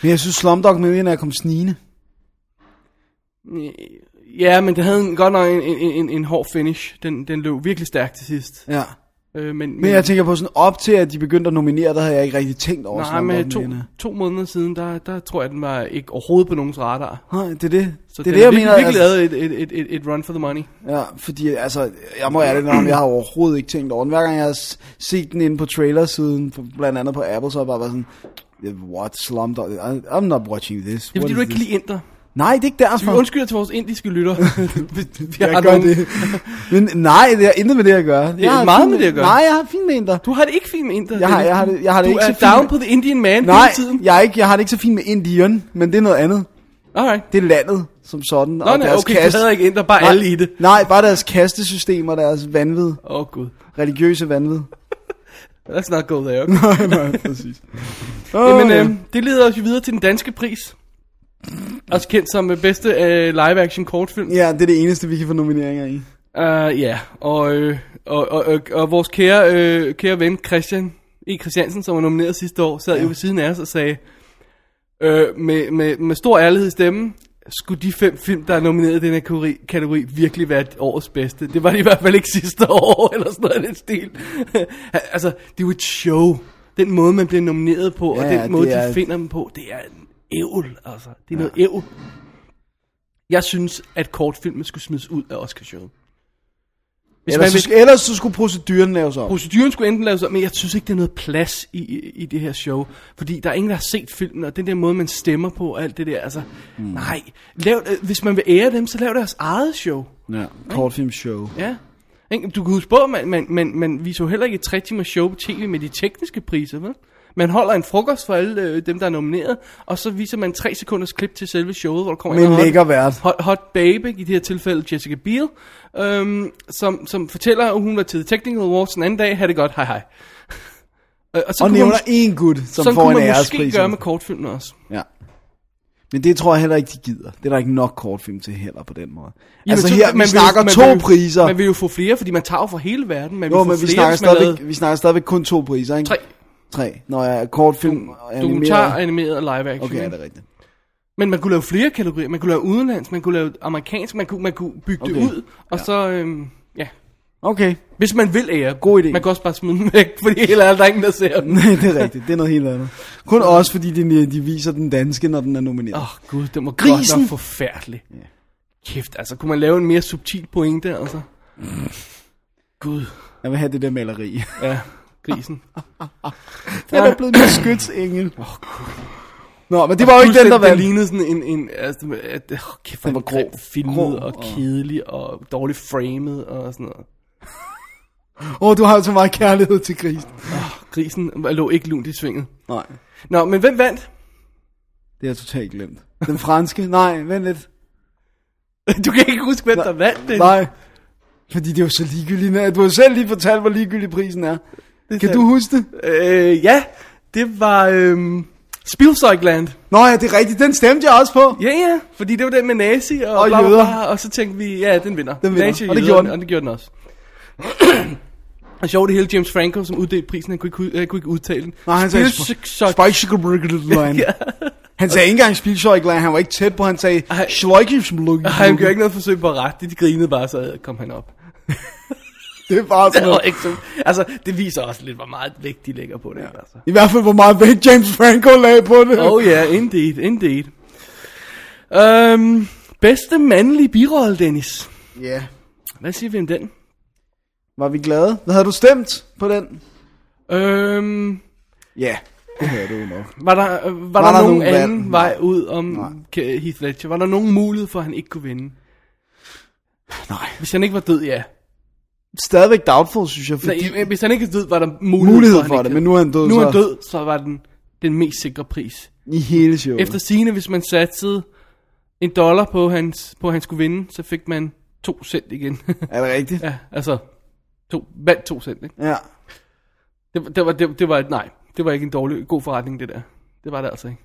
Speaker 2: Men jeg synes, Slumdog Millionaire kom snigende.
Speaker 3: Ja, men det havde en, godt nok en, en, en, en hård finish. Den, den løb virkelig stærkt til sidst.
Speaker 2: Ja.
Speaker 3: Øh, men,
Speaker 2: Men jeg tænker på sådan, op til at de begyndte at nominere, der havde jeg ikke rigtig tænkt over
Speaker 3: Nej,
Speaker 2: Slumdog
Speaker 3: men to,
Speaker 2: Millionaire.
Speaker 3: to måneder siden, der, der tror jeg, den var ikke overhovedet på nogens radar.
Speaker 2: Nej, det er det.
Speaker 3: Så
Speaker 2: det er
Speaker 3: den
Speaker 2: det, jeg
Speaker 3: har
Speaker 2: mener.
Speaker 3: virkelig
Speaker 2: altså-
Speaker 3: lavet et, et, et, et, et run for the money.
Speaker 2: Ja, fordi altså, jeg må ærligt indrømme, jeg har overhovedet ikke tænkt over den. Hver gang jeg har s- set den inde på trailersiden, på- blandt andet på Apple, så har jeg bare været sådan, "Yeah, what, Slumdog, I- I'm not watching this.
Speaker 3: Det er fordi,
Speaker 2: What
Speaker 3: du
Speaker 2: is
Speaker 3: ikke kan
Speaker 2: this?"
Speaker 3: lide Inter.
Speaker 2: Nej, det er ikke
Speaker 3: Så vi
Speaker 2: derfor. <laughs>
Speaker 3: undskylder til vores indiske lytter. vi, vi
Speaker 2: jeg
Speaker 3: har
Speaker 2: gør
Speaker 3: nogle-
Speaker 2: det. Men nej, det har intet med det at gøre. Det
Speaker 3: er meget med det at gøre.
Speaker 2: Nej, jeg har fint med Inder.
Speaker 3: Du har det ikke fint med Inter.
Speaker 2: Jeg har- jeg har det- jeg har det
Speaker 3: du
Speaker 2: ikke så
Speaker 3: er
Speaker 2: fint
Speaker 3: down
Speaker 2: med-
Speaker 3: på the Indian man
Speaker 2: Nej,
Speaker 3: hele tiden.
Speaker 2: jeg, er ikke, jeg har det ikke så fint med Indien, men det er noget andet.
Speaker 3: Alright.
Speaker 2: Det er landet som sådan.
Speaker 3: Nå, nej, okay, det havde jeg ikke Inter, bare
Speaker 2: nej,
Speaker 3: alle i det.
Speaker 2: Nej, bare deres kastesystem og deres vanvid,
Speaker 3: Åh, oh, gud.
Speaker 2: religiøse vanvid.
Speaker 3: That's not go there. Okay.
Speaker 2: nej, nej, præcis. Oh,
Speaker 3: Jamen, øh, det leder os jo videre til den danske pris. Også kendt som øh, bedste øh, live-action kortfilm.
Speaker 2: Ja, det er det eneste, vi kan få nomineringer i.
Speaker 3: Ja, uh, yeah. og, øh, og, og, og, og vores kære, øh, kære ven Christian E. Christiansen, som var nomineret sidste år, sad ja. jo ved siden af os og sagde, øh, med, med, med stor ærlighed i stemmen, skulle de fem film, der er nomineret i den her kategori, kategori virkelig være årets bedste? Det <laughs> var de i hvert fald ikke sidste år, eller sådan noget af den stil. altså, det er jo et show. den måde, man bliver nomineret på, ja, og
Speaker 2: Ja,
Speaker 3: den
Speaker 2: det
Speaker 3: måde, de
Speaker 2: er-
Speaker 3: finder dem på, det er en ævl, altså. Det er noget ævl. Jeg synes, at kortfilmen skulle smides ud af Oscarshowet. Hvis
Speaker 2: Ellers,
Speaker 3: man vil
Speaker 2: så, ellers så skulle proceduren laves om.
Speaker 3: proceduren skulle enten laves om, men jeg synes ikke, der er noget plads i, i, i det her show. Fordi der er ingen, der har set filmen, og den der måde, man stemmer på og alt det der. Altså, mm. nej. Lav, øh, hvis man vil ære dem, så lav deres eget show.
Speaker 2: Ja, kortfilmshow.
Speaker 3: Ja. Ikke? Du kan huske på, at man, man, man, man viser jo heller ikke et 3 timers show på tv med de tekniske priser, vel? Man holder en frokost for alle øh, dem, der er nomineret, og så viser man 3 sekunders klip til selve showet, hvor der kommer
Speaker 2: Med
Speaker 3: en
Speaker 2: en
Speaker 3: hot-
Speaker 2: lækker vært.
Speaker 3: Hot, hot babe, i det her tilfælde Jessica Biel, øhm, som, som fortæller, at hun var til The Technical Awards den anden dag, havde det godt, hej hej. Øh, og så
Speaker 2: Og
Speaker 3: kunne man,
Speaker 2: nævner én gut, som
Speaker 3: sådan
Speaker 2: får
Speaker 3: kunne
Speaker 2: en
Speaker 3: man måske
Speaker 2: ærespris.
Speaker 3: gøre med kortfilmen også.
Speaker 2: Ja. Men det tror jeg heller ikke, de gider. Det er der ikke nok kortfilm til heller på den måde. Jamen, altså
Speaker 3: så-
Speaker 2: her, vi
Speaker 3: vil jo-
Speaker 2: snakker
Speaker 3: man
Speaker 2: to
Speaker 3: vil jo-
Speaker 2: priser.
Speaker 3: Man vil jo få flere, fordi man tager jo fra hele verden. Man vil
Speaker 2: jo,
Speaker 3: få
Speaker 2: men vi snakker,
Speaker 3: flere, hvis man lavede
Speaker 2: stadigvæk, vi snakker stadigvæk kun to priser, ikke?
Speaker 3: Tre.
Speaker 2: Tre. Nå ja, kortfilm og animeret.
Speaker 3: Dokumentar, animeret og live action.
Speaker 2: Okay, ja,
Speaker 3: ikke?
Speaker 2: det er rigtigt.
Speaker 3: Men man kunne lave flere kategorier. Man kunne lave udenlands, man kunne lave amerikansk, man kunne, man kunne bygge okay.
Speaker 2: Okay.
Speaker 3: det ud. Og ja. så, øhm, ja.
Speaker 2: Okay.
Speaker 3: Hvis man vil ære.
Speaker 2: God idé.
Speaker 3: Man kan også bare smide den væk, <laughs> fordi helt ærligt, der er ingen, der ser
Speaker 2: <laughs>
Speaker 3: den.
Speaker 2: Nej, det er rigtigt. Det er noget helt andet. Kun også, fordi de, de viser den danske, når den er nomineret.
Speaker 3: Åh
Speaker 2: Oh.
Speaker 3: oh, gud, det må godt
Speaker 2: Grisen.
Speaker 3: nok forfærdeligt. Yeah. Kæft, altså kunne man lave en mere subtil pointe, altså? Gud,
Speaker 2: Jeg vil have det der maleri.
Speaker 3: ja, grisen.
Speaker 2: Den er blevet en skytsengel. Oh, Nå, men det var jo ikke den, der
Speaker 3: Det
Speaker 2: vandt.
Speaker 3: lignede sådan en... en altså, at, oh, kæft, den
Speaker 2: var
Speaker 3: var
Speaker 2: grå.
Speaker 3: grå. Filmet
Speaker 2: Grå
Speaker 3: og
Speaker 2: og-
Speaker 3: kedelig og dårligt framet og sådan noget.
Speaker 2: Åh, oh, du har jo så meget kærlighed til grisen.
Speaker 3: Grisen lå ikke lunt i svinget.
Speaker 2: Nej,
Speaker 3: Nå, men hvem vandt?
Speaker 2: det har jeg totalt glemt. Den franske? Nej, vent lidt.
Speaker 3: <laughs> Du kan ikke huske, hvem der vandt det.
Speaker 2: Nej. Fordi det er jo så ligegyldigt. at Du har selv lige fortalt, hvor ligegyldig prisen er. Kan du huske det?
Speaker 3: Øh, ja, det var øhm, Spielzeugland.
Speaker 2: Nå ja, det er rigtigt. Den stemte jeg også på.
Speaker 3: Ja, ja, fordi det var den med nazi og,
Speaker 2: Og
Speaker 3: bla, bla,
Speaker 2: jøder.
Speaker 3: bla, og så tænkte vi, ja, den vinder.
Speaker 2: Den vinder,
Speaker 3: Nazi
Speaker 2: og det
Speaker 3: jøder,
Speaker 2: gjorde den.
Speaker 3: Og det gjorde den også. <clears throat> Og sjovt det hele, James Franco, som uddelte prisen, han kunne ikke, ud- han kunne ikke udtale den.
Speaker 2: Nej, han sagde
Speaker 3: Spielzeug-
Speaker 2: Spice
Speaker 3: Ja.
Speaker 2: Han sagde ikke engang Spielzeugland. Han var ikke tæt på. Han sagde
Speaker 3: Ej.
Speaker 2: Schleukensblug.
Speaker 3: Og han gjorde ikke noget forsøg på at rette det, de grinede bare, så kom han op.
Speaker 2: Det var
Speaker 3: <laughs>
Speaker 2: sådan
Speaker 3: Det var
Speaker 2: noget.
Speaker 3: ikke så, altså, det viser også lidt, hvor meget vægt de lægger på det. Ja. Altså.
Speaker 2: I hvert fald, hvor meget vægt James Franco lagde på det.
Speaker 3: <laughs> Oh yeah, indeed, indeed. Øhm, bedste mandlige birolle, Dennis.
Speaker 2: Ja.
Speaker 3: Hvad siger vi om den?
Speaker 2: Var vi glade? Hvad havde du stemt på den?
Speaker 3: Øhm,
Speaker 2: Ja, det havde du nok.
Speaker 3: var der, øh, var var der,
Speaker 2: der
Speaker 3: nogen
Speaker 2: nogen
Speaker 3: anden
Speaker 2: valg?
Speaker 3: vej ud om Nej. Heath Ledger? Var der nogen mulighed for, at han ikke kunne vinde?
Speaker 2: Nej.
Speaker 3: Hvis han ikke var død, ja.
Speaker 2: Stadigvæk doubtful, synes jeg, fordi...
Speaker 3: Fordi... Nej, hvis han ikke er død, var der mulighed,
Speaker 2: mulighed
Speaker 3: for,
Speaker 2: for
Speaker 3: han
Speaker 2: det,
Speaker 3: ikke
Speaker 2: men nu er han død,
Speaker 3: Nu er han
Speaker 2: så
Speaker 3: død, så var den den mest sikre pris.
Speaker 2: i hele showet.
Speaker 3: Efter sigende, hvis man satsede en dollar på, hans, på at han skulle vinde, så fik man to cent igen. <laughs>
Speaker 2: Er det rigtigt?
Speaker 3: ja, altså, to, vandt to cent, ikke?
Speaker 2: Ja.
Speaker 3: Det, var- det, var, det, det var et nej. Det var ikke en dårlig, god forretning, det der. Det var det altså ikke.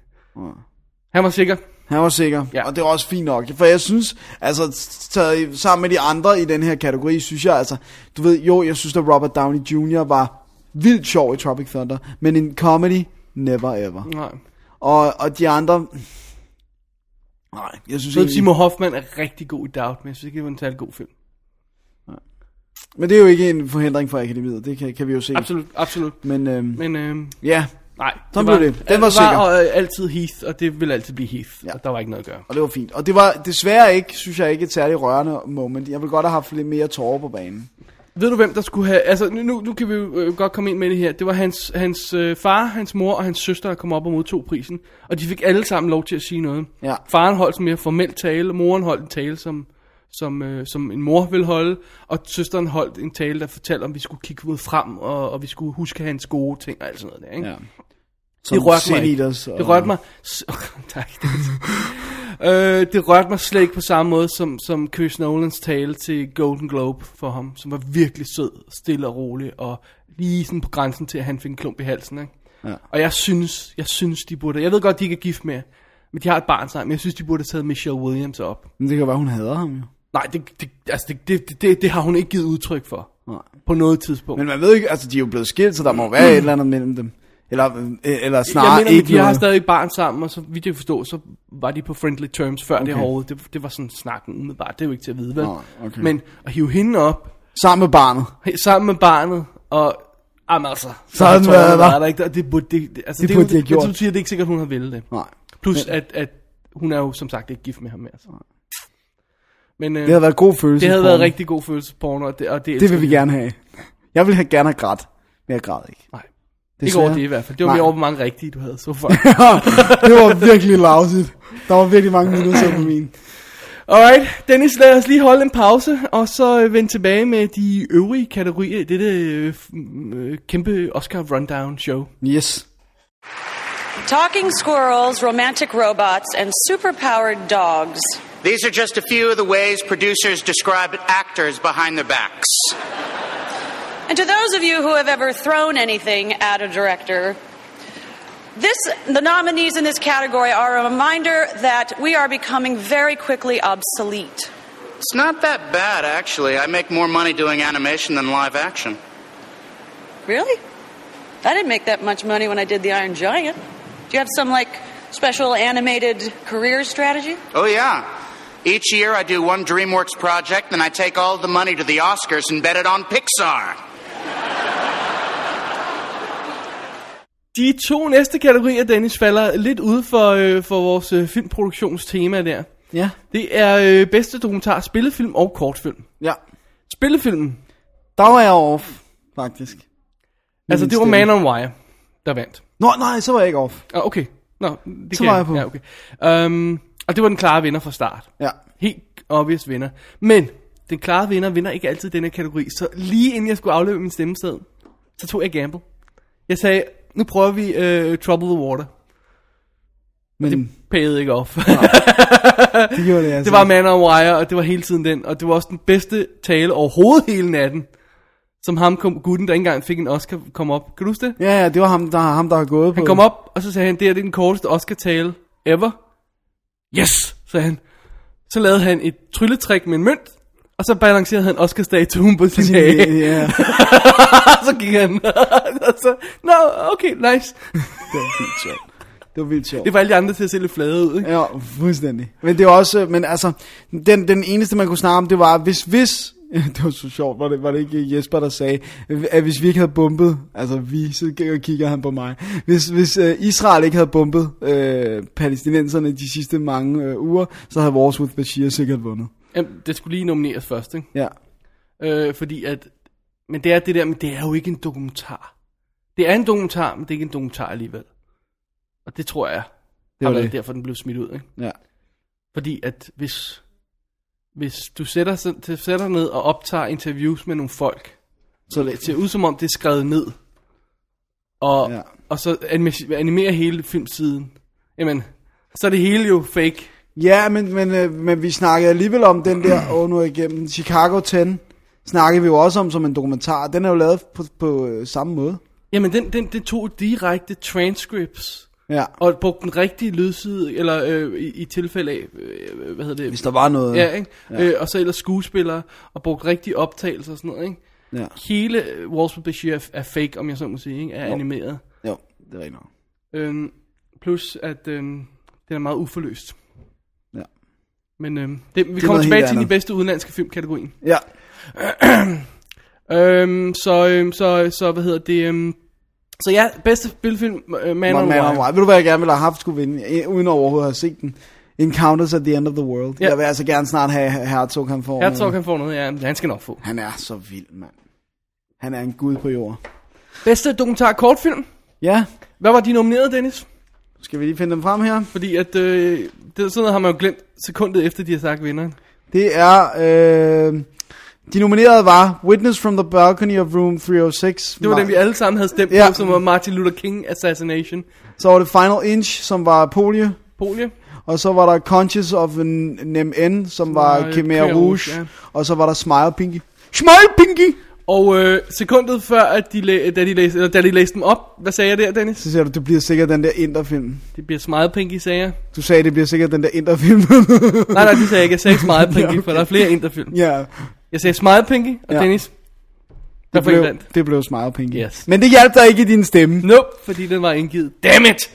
Speaker 3: Han var sikker.
Speaker 2: Han var sikker,
Speaker 3: Ja.
Speaker 2: ja. og det var også fint nok, for jeg synes, altså taget i- sammen med de andre i den her kategori, synes jeg altså, du ved, jo, jeg synes, at Robert Downey Jr. var vildt sjov i Tropic Thunder, men en comedy, never ever.
Speaker 3: Nej.
Speaker 2: Og, og de andre, nej, jeg synes
Speaker 3: Jeg ved,
Speaker 2: ikke,
Speaker 3: Simon Hoffman er rigtig god i Doubt, men jeg synes ikke, det var en særlig god film.
Speaker 2: men det er jo ikke en forhindring for akademiet, det kan, kan vi jo se.
Speaker 3: Absolut, absolut.
Speaker 2: Men øhm,
Speaker 3: Men øhm,
Speaker 2: ja,
Speaker 3: nej,
Speaker 2: Sådan blev det. Den var
Speaker 3: var
Speaker 2: sikker.
Speaker 3: og, øh, altid Heath, og det vil altid blive Heath. Ja.
Speaker 2: Ja.
Speaker 3: Og der var ikke noget at gøre.
Speaker 2: og det var fint. Og det var desværre ikke, synes jeg ikke, et særligt rørende moment. Jeg ville godt have haft lidt mere tårer på banen.
Speaker 3: Ved du, hvem der skulle have... Altså, nu- nu, nu kan vi jo øh, godt komme ind med det her. Det var hans, hans øh, far, hans mor og hans søster, der kom op og modtog prisen. Og de fik alle sammen lov til at sige noget.
Speaker 2: Ja.
Speaker 3: Faren holdt en mere formel tale, moren holdt en tale, som, som, øh, som en mor ville holde. Og søsteren holdt en tale, der fortalte, om vi skulle kigge ud frem, og, og vi skulle huske hans gode ting og alt sådan noget der, ikke?
Speaker 2: Ja.
Speaker 3: Som det rørte mig ikke.
Speaker 2: Senators og-
Speaker 3: Det rørte mig... s- <laughs> tak, Dennis. øh, det rørte mig slet ikke på samme måde som, som Chris Nolans tale til Golden Globe for ham, som var virkelig sød, stille og rolig, og lige sådan på grænsen til, at han fik en klump i halsen. Ikke?
Speaker 2: Ja.
Speaker 3: Og jeg synes, jeg synes, de burde... Jeg ved godt, de ikke er gift mere, men de har et barn sammen. Jeg synes, de burde have taget Michelle Williams op.
Speaker 2: Men det kan være, hun hader ham jo.
Speaker 3: Nej, det, det, altså det, det, det, det har hun ikke givet udtryk for.
Speaker 2: Nej.
Speaker 3: På noget tidspunkt.
Speaker 2: Men man ved ikke, altså de er jo blevet skilt, så der må være et eller andet mellem dem. Eller, øh, eller snarere
Speaker 3: jeg mener,
Speaker 2: ikke
Speaker 3: de har
Speaker 2: noget.
Speaker 3: stadig et barn sammen, og så vidt jeg kan forstå, så var de på friendly terms før okay. det
Speaker 2: Okay.
Speaker 3: overhovedet. Det, det var sådan snakken umiddelbart, det er jo ikke til at vide, vel?
Speaker 2: Nå, okay.
Speaker 3: Men at hive hende op
Speaker 2: Sammen med barnet.
Speaker 3: he- sammen med barnet, og
Speaker 1: Jamen altså. så
Speaker 2: Sådan
Speaker 1: tror jeg,
Speaker 2: var
Speaker 1: hun
Speaker 2: der.
Speaker 1: var der ikke, og det burde det, det, altså,
Speaker 2: Det
Speaker 1: det,
Speaker 2: burde
Speaker 1: burde
Speaker 2: de have gjort.
Speaker 1: Men, som du siger, det er ikke sikkert, hun har ville det.
Speaker 2: Nej.
Speaker 1: Plus, at, at hun er jo som sagt ikke gift med ham mere. Altså. Men øh,
Speaker 2: Det havde været god følelse.
Speaker 1: det havde været rigtig god følelse på og det, og det,
Speaker 2: Det vil
Speaker 1: elsker
Speaker 2: vi gerne have. Jeg ville have gerne have grædt, men jeg græd ikke. <laughs>
Speaker 1: Nej, ikke over det i hvert fald. Det var
Speaker 2: Nej.
Speaker 1: mere over, hvor mange rigtige du havde så far.
Speaker 2: <laughs> det var virkelig lausigt. Der var virkelig mange minutter på min.
Speaker 1: Alright, Dennis, lad os lige holde en pause, og så øh, vende tilbage med de øvrige kategorier i dette øh, f- øh, kæmpe Oscar Rundown show.
Speaker 2: Yes.
Speaker 6: Talking squirrels, romantic robots, and superpowered dogs.
Speaker 7: These are just a few of the ways producers describe actors behind their backs.
Speaker 6: And to those of you who have ever thrown anything at a director, this, the nominees in this category are a reminder that we are becoming very quickly obsolete.
Speaker 7: It's not that bad, actually. I make more money doing animation than live action.
Speaker 6: Really? I didn't make that much money when I did The Iron Giant. Do you have some, like, special animated career strategy?
Speaker 7: Oh, yeah. Each year I do one DreamWorks project, then I take all the money to the Oscars and bet it on Pixar.
Speaker 1: De to næste kategorier, Dennis, falder lidt ud for, øh, for vores øh, filmproduktionstema der.
Speaker 2: Ja.
Speaker 1: Det er øh, bedste dokumentar, spillefilm og kortfilm.
Speaker 2: Ja.
Speaker 1: Spillefilmen,
Speaker 2: Der var jeg off, faktisk.
Speaker 1: altså det var
Speaker 2: stemme.
Speaker 1: Man on Wire, der vandt.
Speaker 2: Nå, nej, så var jeg ikke off.
Speaker 1: Ah, okay. Nå, det
Speaker 2: Så
Speaker 1: kan
Speaker 2: var jeg på.
Speaker 1: Ja, okay. um, og det var den klare vinder fra start.
Speaker 2: Ja.
Speaker 1: Helt obvious vinder. Men den klare vinder vinder ikke altid denne kategori. Så lige inden jeg skulle afløbe min stemmested, så tog jeg gamble. Jeg sagde, nu prøver vi øh, Trouble the Water.
Speaker 2: Men det,
Speaker 1: Payede ikke off. <laughs>
Speaker 2: det gjorde det altså.
Speaker 1: det var Man on Wire, og det var hele tiden den. Og det var også den bedste tale overhovedet hele natten. Som ham kom, gutten, der ikke engang fik en Oscar, kom op. Kan du huske det?
Speaker 2: Ja, ja, det var ham, der, ham, der har gået på.
Speaker 1: Han kom op, og så sagde han, det her det er den korteste Oscar-tale ever. Yes, sagde han. Så lavede han et trylletræk med en mønt, og så balancerede han Oscar-statuen på sin hage.
Speaker 2: <laughs>
Speaker 1: <laughs>
Speaker 2: Ja,
Speaker 1: og <laughs> så gik han. og så, nå, okay, nice.
Speaker 2: det var vildt sjovt. Det var vildt sjovt.
Speaker 1: Det var alle de andre til at se lidt flade ud, ikke?
Speaker 2: Ja, fuldstændig. Men det var også, øh, men altså, den, den eneste man kunne snakke om, det var, hvis, hvis, <laughs> det var så sjovt, var det, var det ikke Jesper, der sagde, at hvis vi ikke havde bumpet, altså vi, så k- kigger han på mig, hvis, hvis øh, Israel ikke havde bumpet øh, palæstinenserne de sidste mange øh, uger, så havde vores with Bashir sikkert vundet.
Speaker 1: Jamen, det skulle lige nomineres først, ikke?
Speaker 2: Ja,
Speaker 1: Øh, fordi at, men det er det der, men det er jo ikke en dokumentar. Det er en dokumentar, men det er ikke en dokumentar alligevel. Og det tror jeg, det
Speaker 2: var
Speaker 1: har været
Speaker 2: det.
Speaker 1: derfor, den blev smidt ud, ikke?
Speaker 2: ja.
Speaker 1: Fordi at hvis, hvis du sætter, sig- til- sætter dig ned og optager interviews med nogle folk, så det ser ud som om, det er skrevet ned. Og,
Speaker 2: Ja.
Speaker 1: ja. og så anime- animerer hele filmsiden. Jamen, så er det hele jo fake.
Speaker 2: Ja, men, men, øh, men vi snakkede alligevel om den der,
Speaker 1: <clears throat>
Speaker 2: åh nu er jeg igennem, Chicago 10, snakkede vi jo også om som en dokumentar, den er jo lavet på, på øh, samme måde.
Speaker 1: Jamen, den, den, den tog direkte transcripts
Speaker 2: Ja,
Speaker 1: og brugte den rigtige lydside, eller øh, i, i tilfælde af, øh, hvad hedder det?
Speaker 2: hvis der var noget.
Speaker 1: Ja, ikke? Ja. Øh, og så ellers skuespillere, og brugt rigtige optagelser og sådan noget, ikke?
Speaker 2: ja.
Speaker 1: Hele øh, Walls with Bashir er, er fake, om jeg så må sige, ikke? Er jo. animeret.
Speaker 2: Jo, det er rigtigt nok.
Speaker 1: Øhm, plus at øhm, den er meget uforløst.
Speaker 2: Ja.
Speaker 1: Men øhm, det, vi
Speaker 2: noget
Speaker 1: kommer
Speaker 2: helt
Speaker 1: tilbage til
Speaker 2: andet.
Speaker 1: den bedste udenlandske filmkategorien.
Speaker 2: Ja,
Speaker 1: Øhm, så, øhm, så, så hvad hedder det? Øhm, så ja, bedste spilfilm, øh, Man,
Speaker 2: Man,
Speaker 1: on
Speaker 2: man, man,
Speaker 1: Wire.
Speaker 2: man. Ved du, hvad jeg gerne ville have haft skulle vinde, eh, uden overhovedet at have set den? Encounters at the End of the World. Ja.
Speaker 1: Ja.
Speaker 2: Jeg vil altså gerne snart have have Herzog, han får.
Speaker 1: Herzog,
Speaker 2: noget.
Speaker 1: han får noget, ja, men han skal nok få.
Speaker 2: Han er så vild, mand. Han er en gud på jord.
Speaker 1: Bedste dokumentar kortfilm.
Speaker 2: Ja,
Speaker 1: Hvad var de nomineret, Dennis?
Speaker 2: skal vi lige finde dem frem her?
Speaker 1: Fordi at, øh, det er sådan noget, har man jo glemt sekundet efter, de har sagt vinderen.
Speaker 2: Det er... Øh, de nominerede var Witness from the Balcony of Room 306.
Speaker 1: Det var
Speaker 2: Ma-
Speaker 1: den, vi alle sammen havde stemt
Speaker 2: Ja.
Speaker 1: på, som var Martin Luther King Assassination.
Speaker 2: Så var det Final Inch, som var Polio.
Speaker 1: Polie.
Speaker 2: Og så var der Conscious of an NMN, som var
Speaker 1: var
Speaker 2: Khmer
Speaker 1: Khmer
Speaker 2: Rouge.
Speaker 1: Rouge, ja.
Speaker 2: Og så var der Smile Pinky. Smile Pinky!
Speaker 1: Og øh, sekundet før, at de, læ- da, de læste, eller, da de læste dem op, hvad sagde jeg der, Dennis?
Speaker 2: Så siger du, det bliver sikkert den der inderfilm.
Speaker 1: Det bliver smile pinky, sagde jeg.
Speaker 2: Du sagde, det bliver sikkert den der <laughs> inderfilm.
Speaker 1: Nej, nej, det sagde jeg ikke. Jeg <laughs> sagde ikke smile pinky, for der er flere interfilm.
Speaker 2: ja,
Speaker 1: Jeg sagde smile pinky, og
Speaker 2: Ja.
Speaker 1: ja. Dennis, der
Speaker 2: det
Speaker 1: får en
Speaker 2: blev,
Speaker 1: vandt.
Speaker 2: det blev Smile Pinky.
Speaker 1: Yes.
Speaker 2: Men det hjalp dig ikke i din stemme.
Speaker 1: Nope, fordi den var indgivet. Damn it!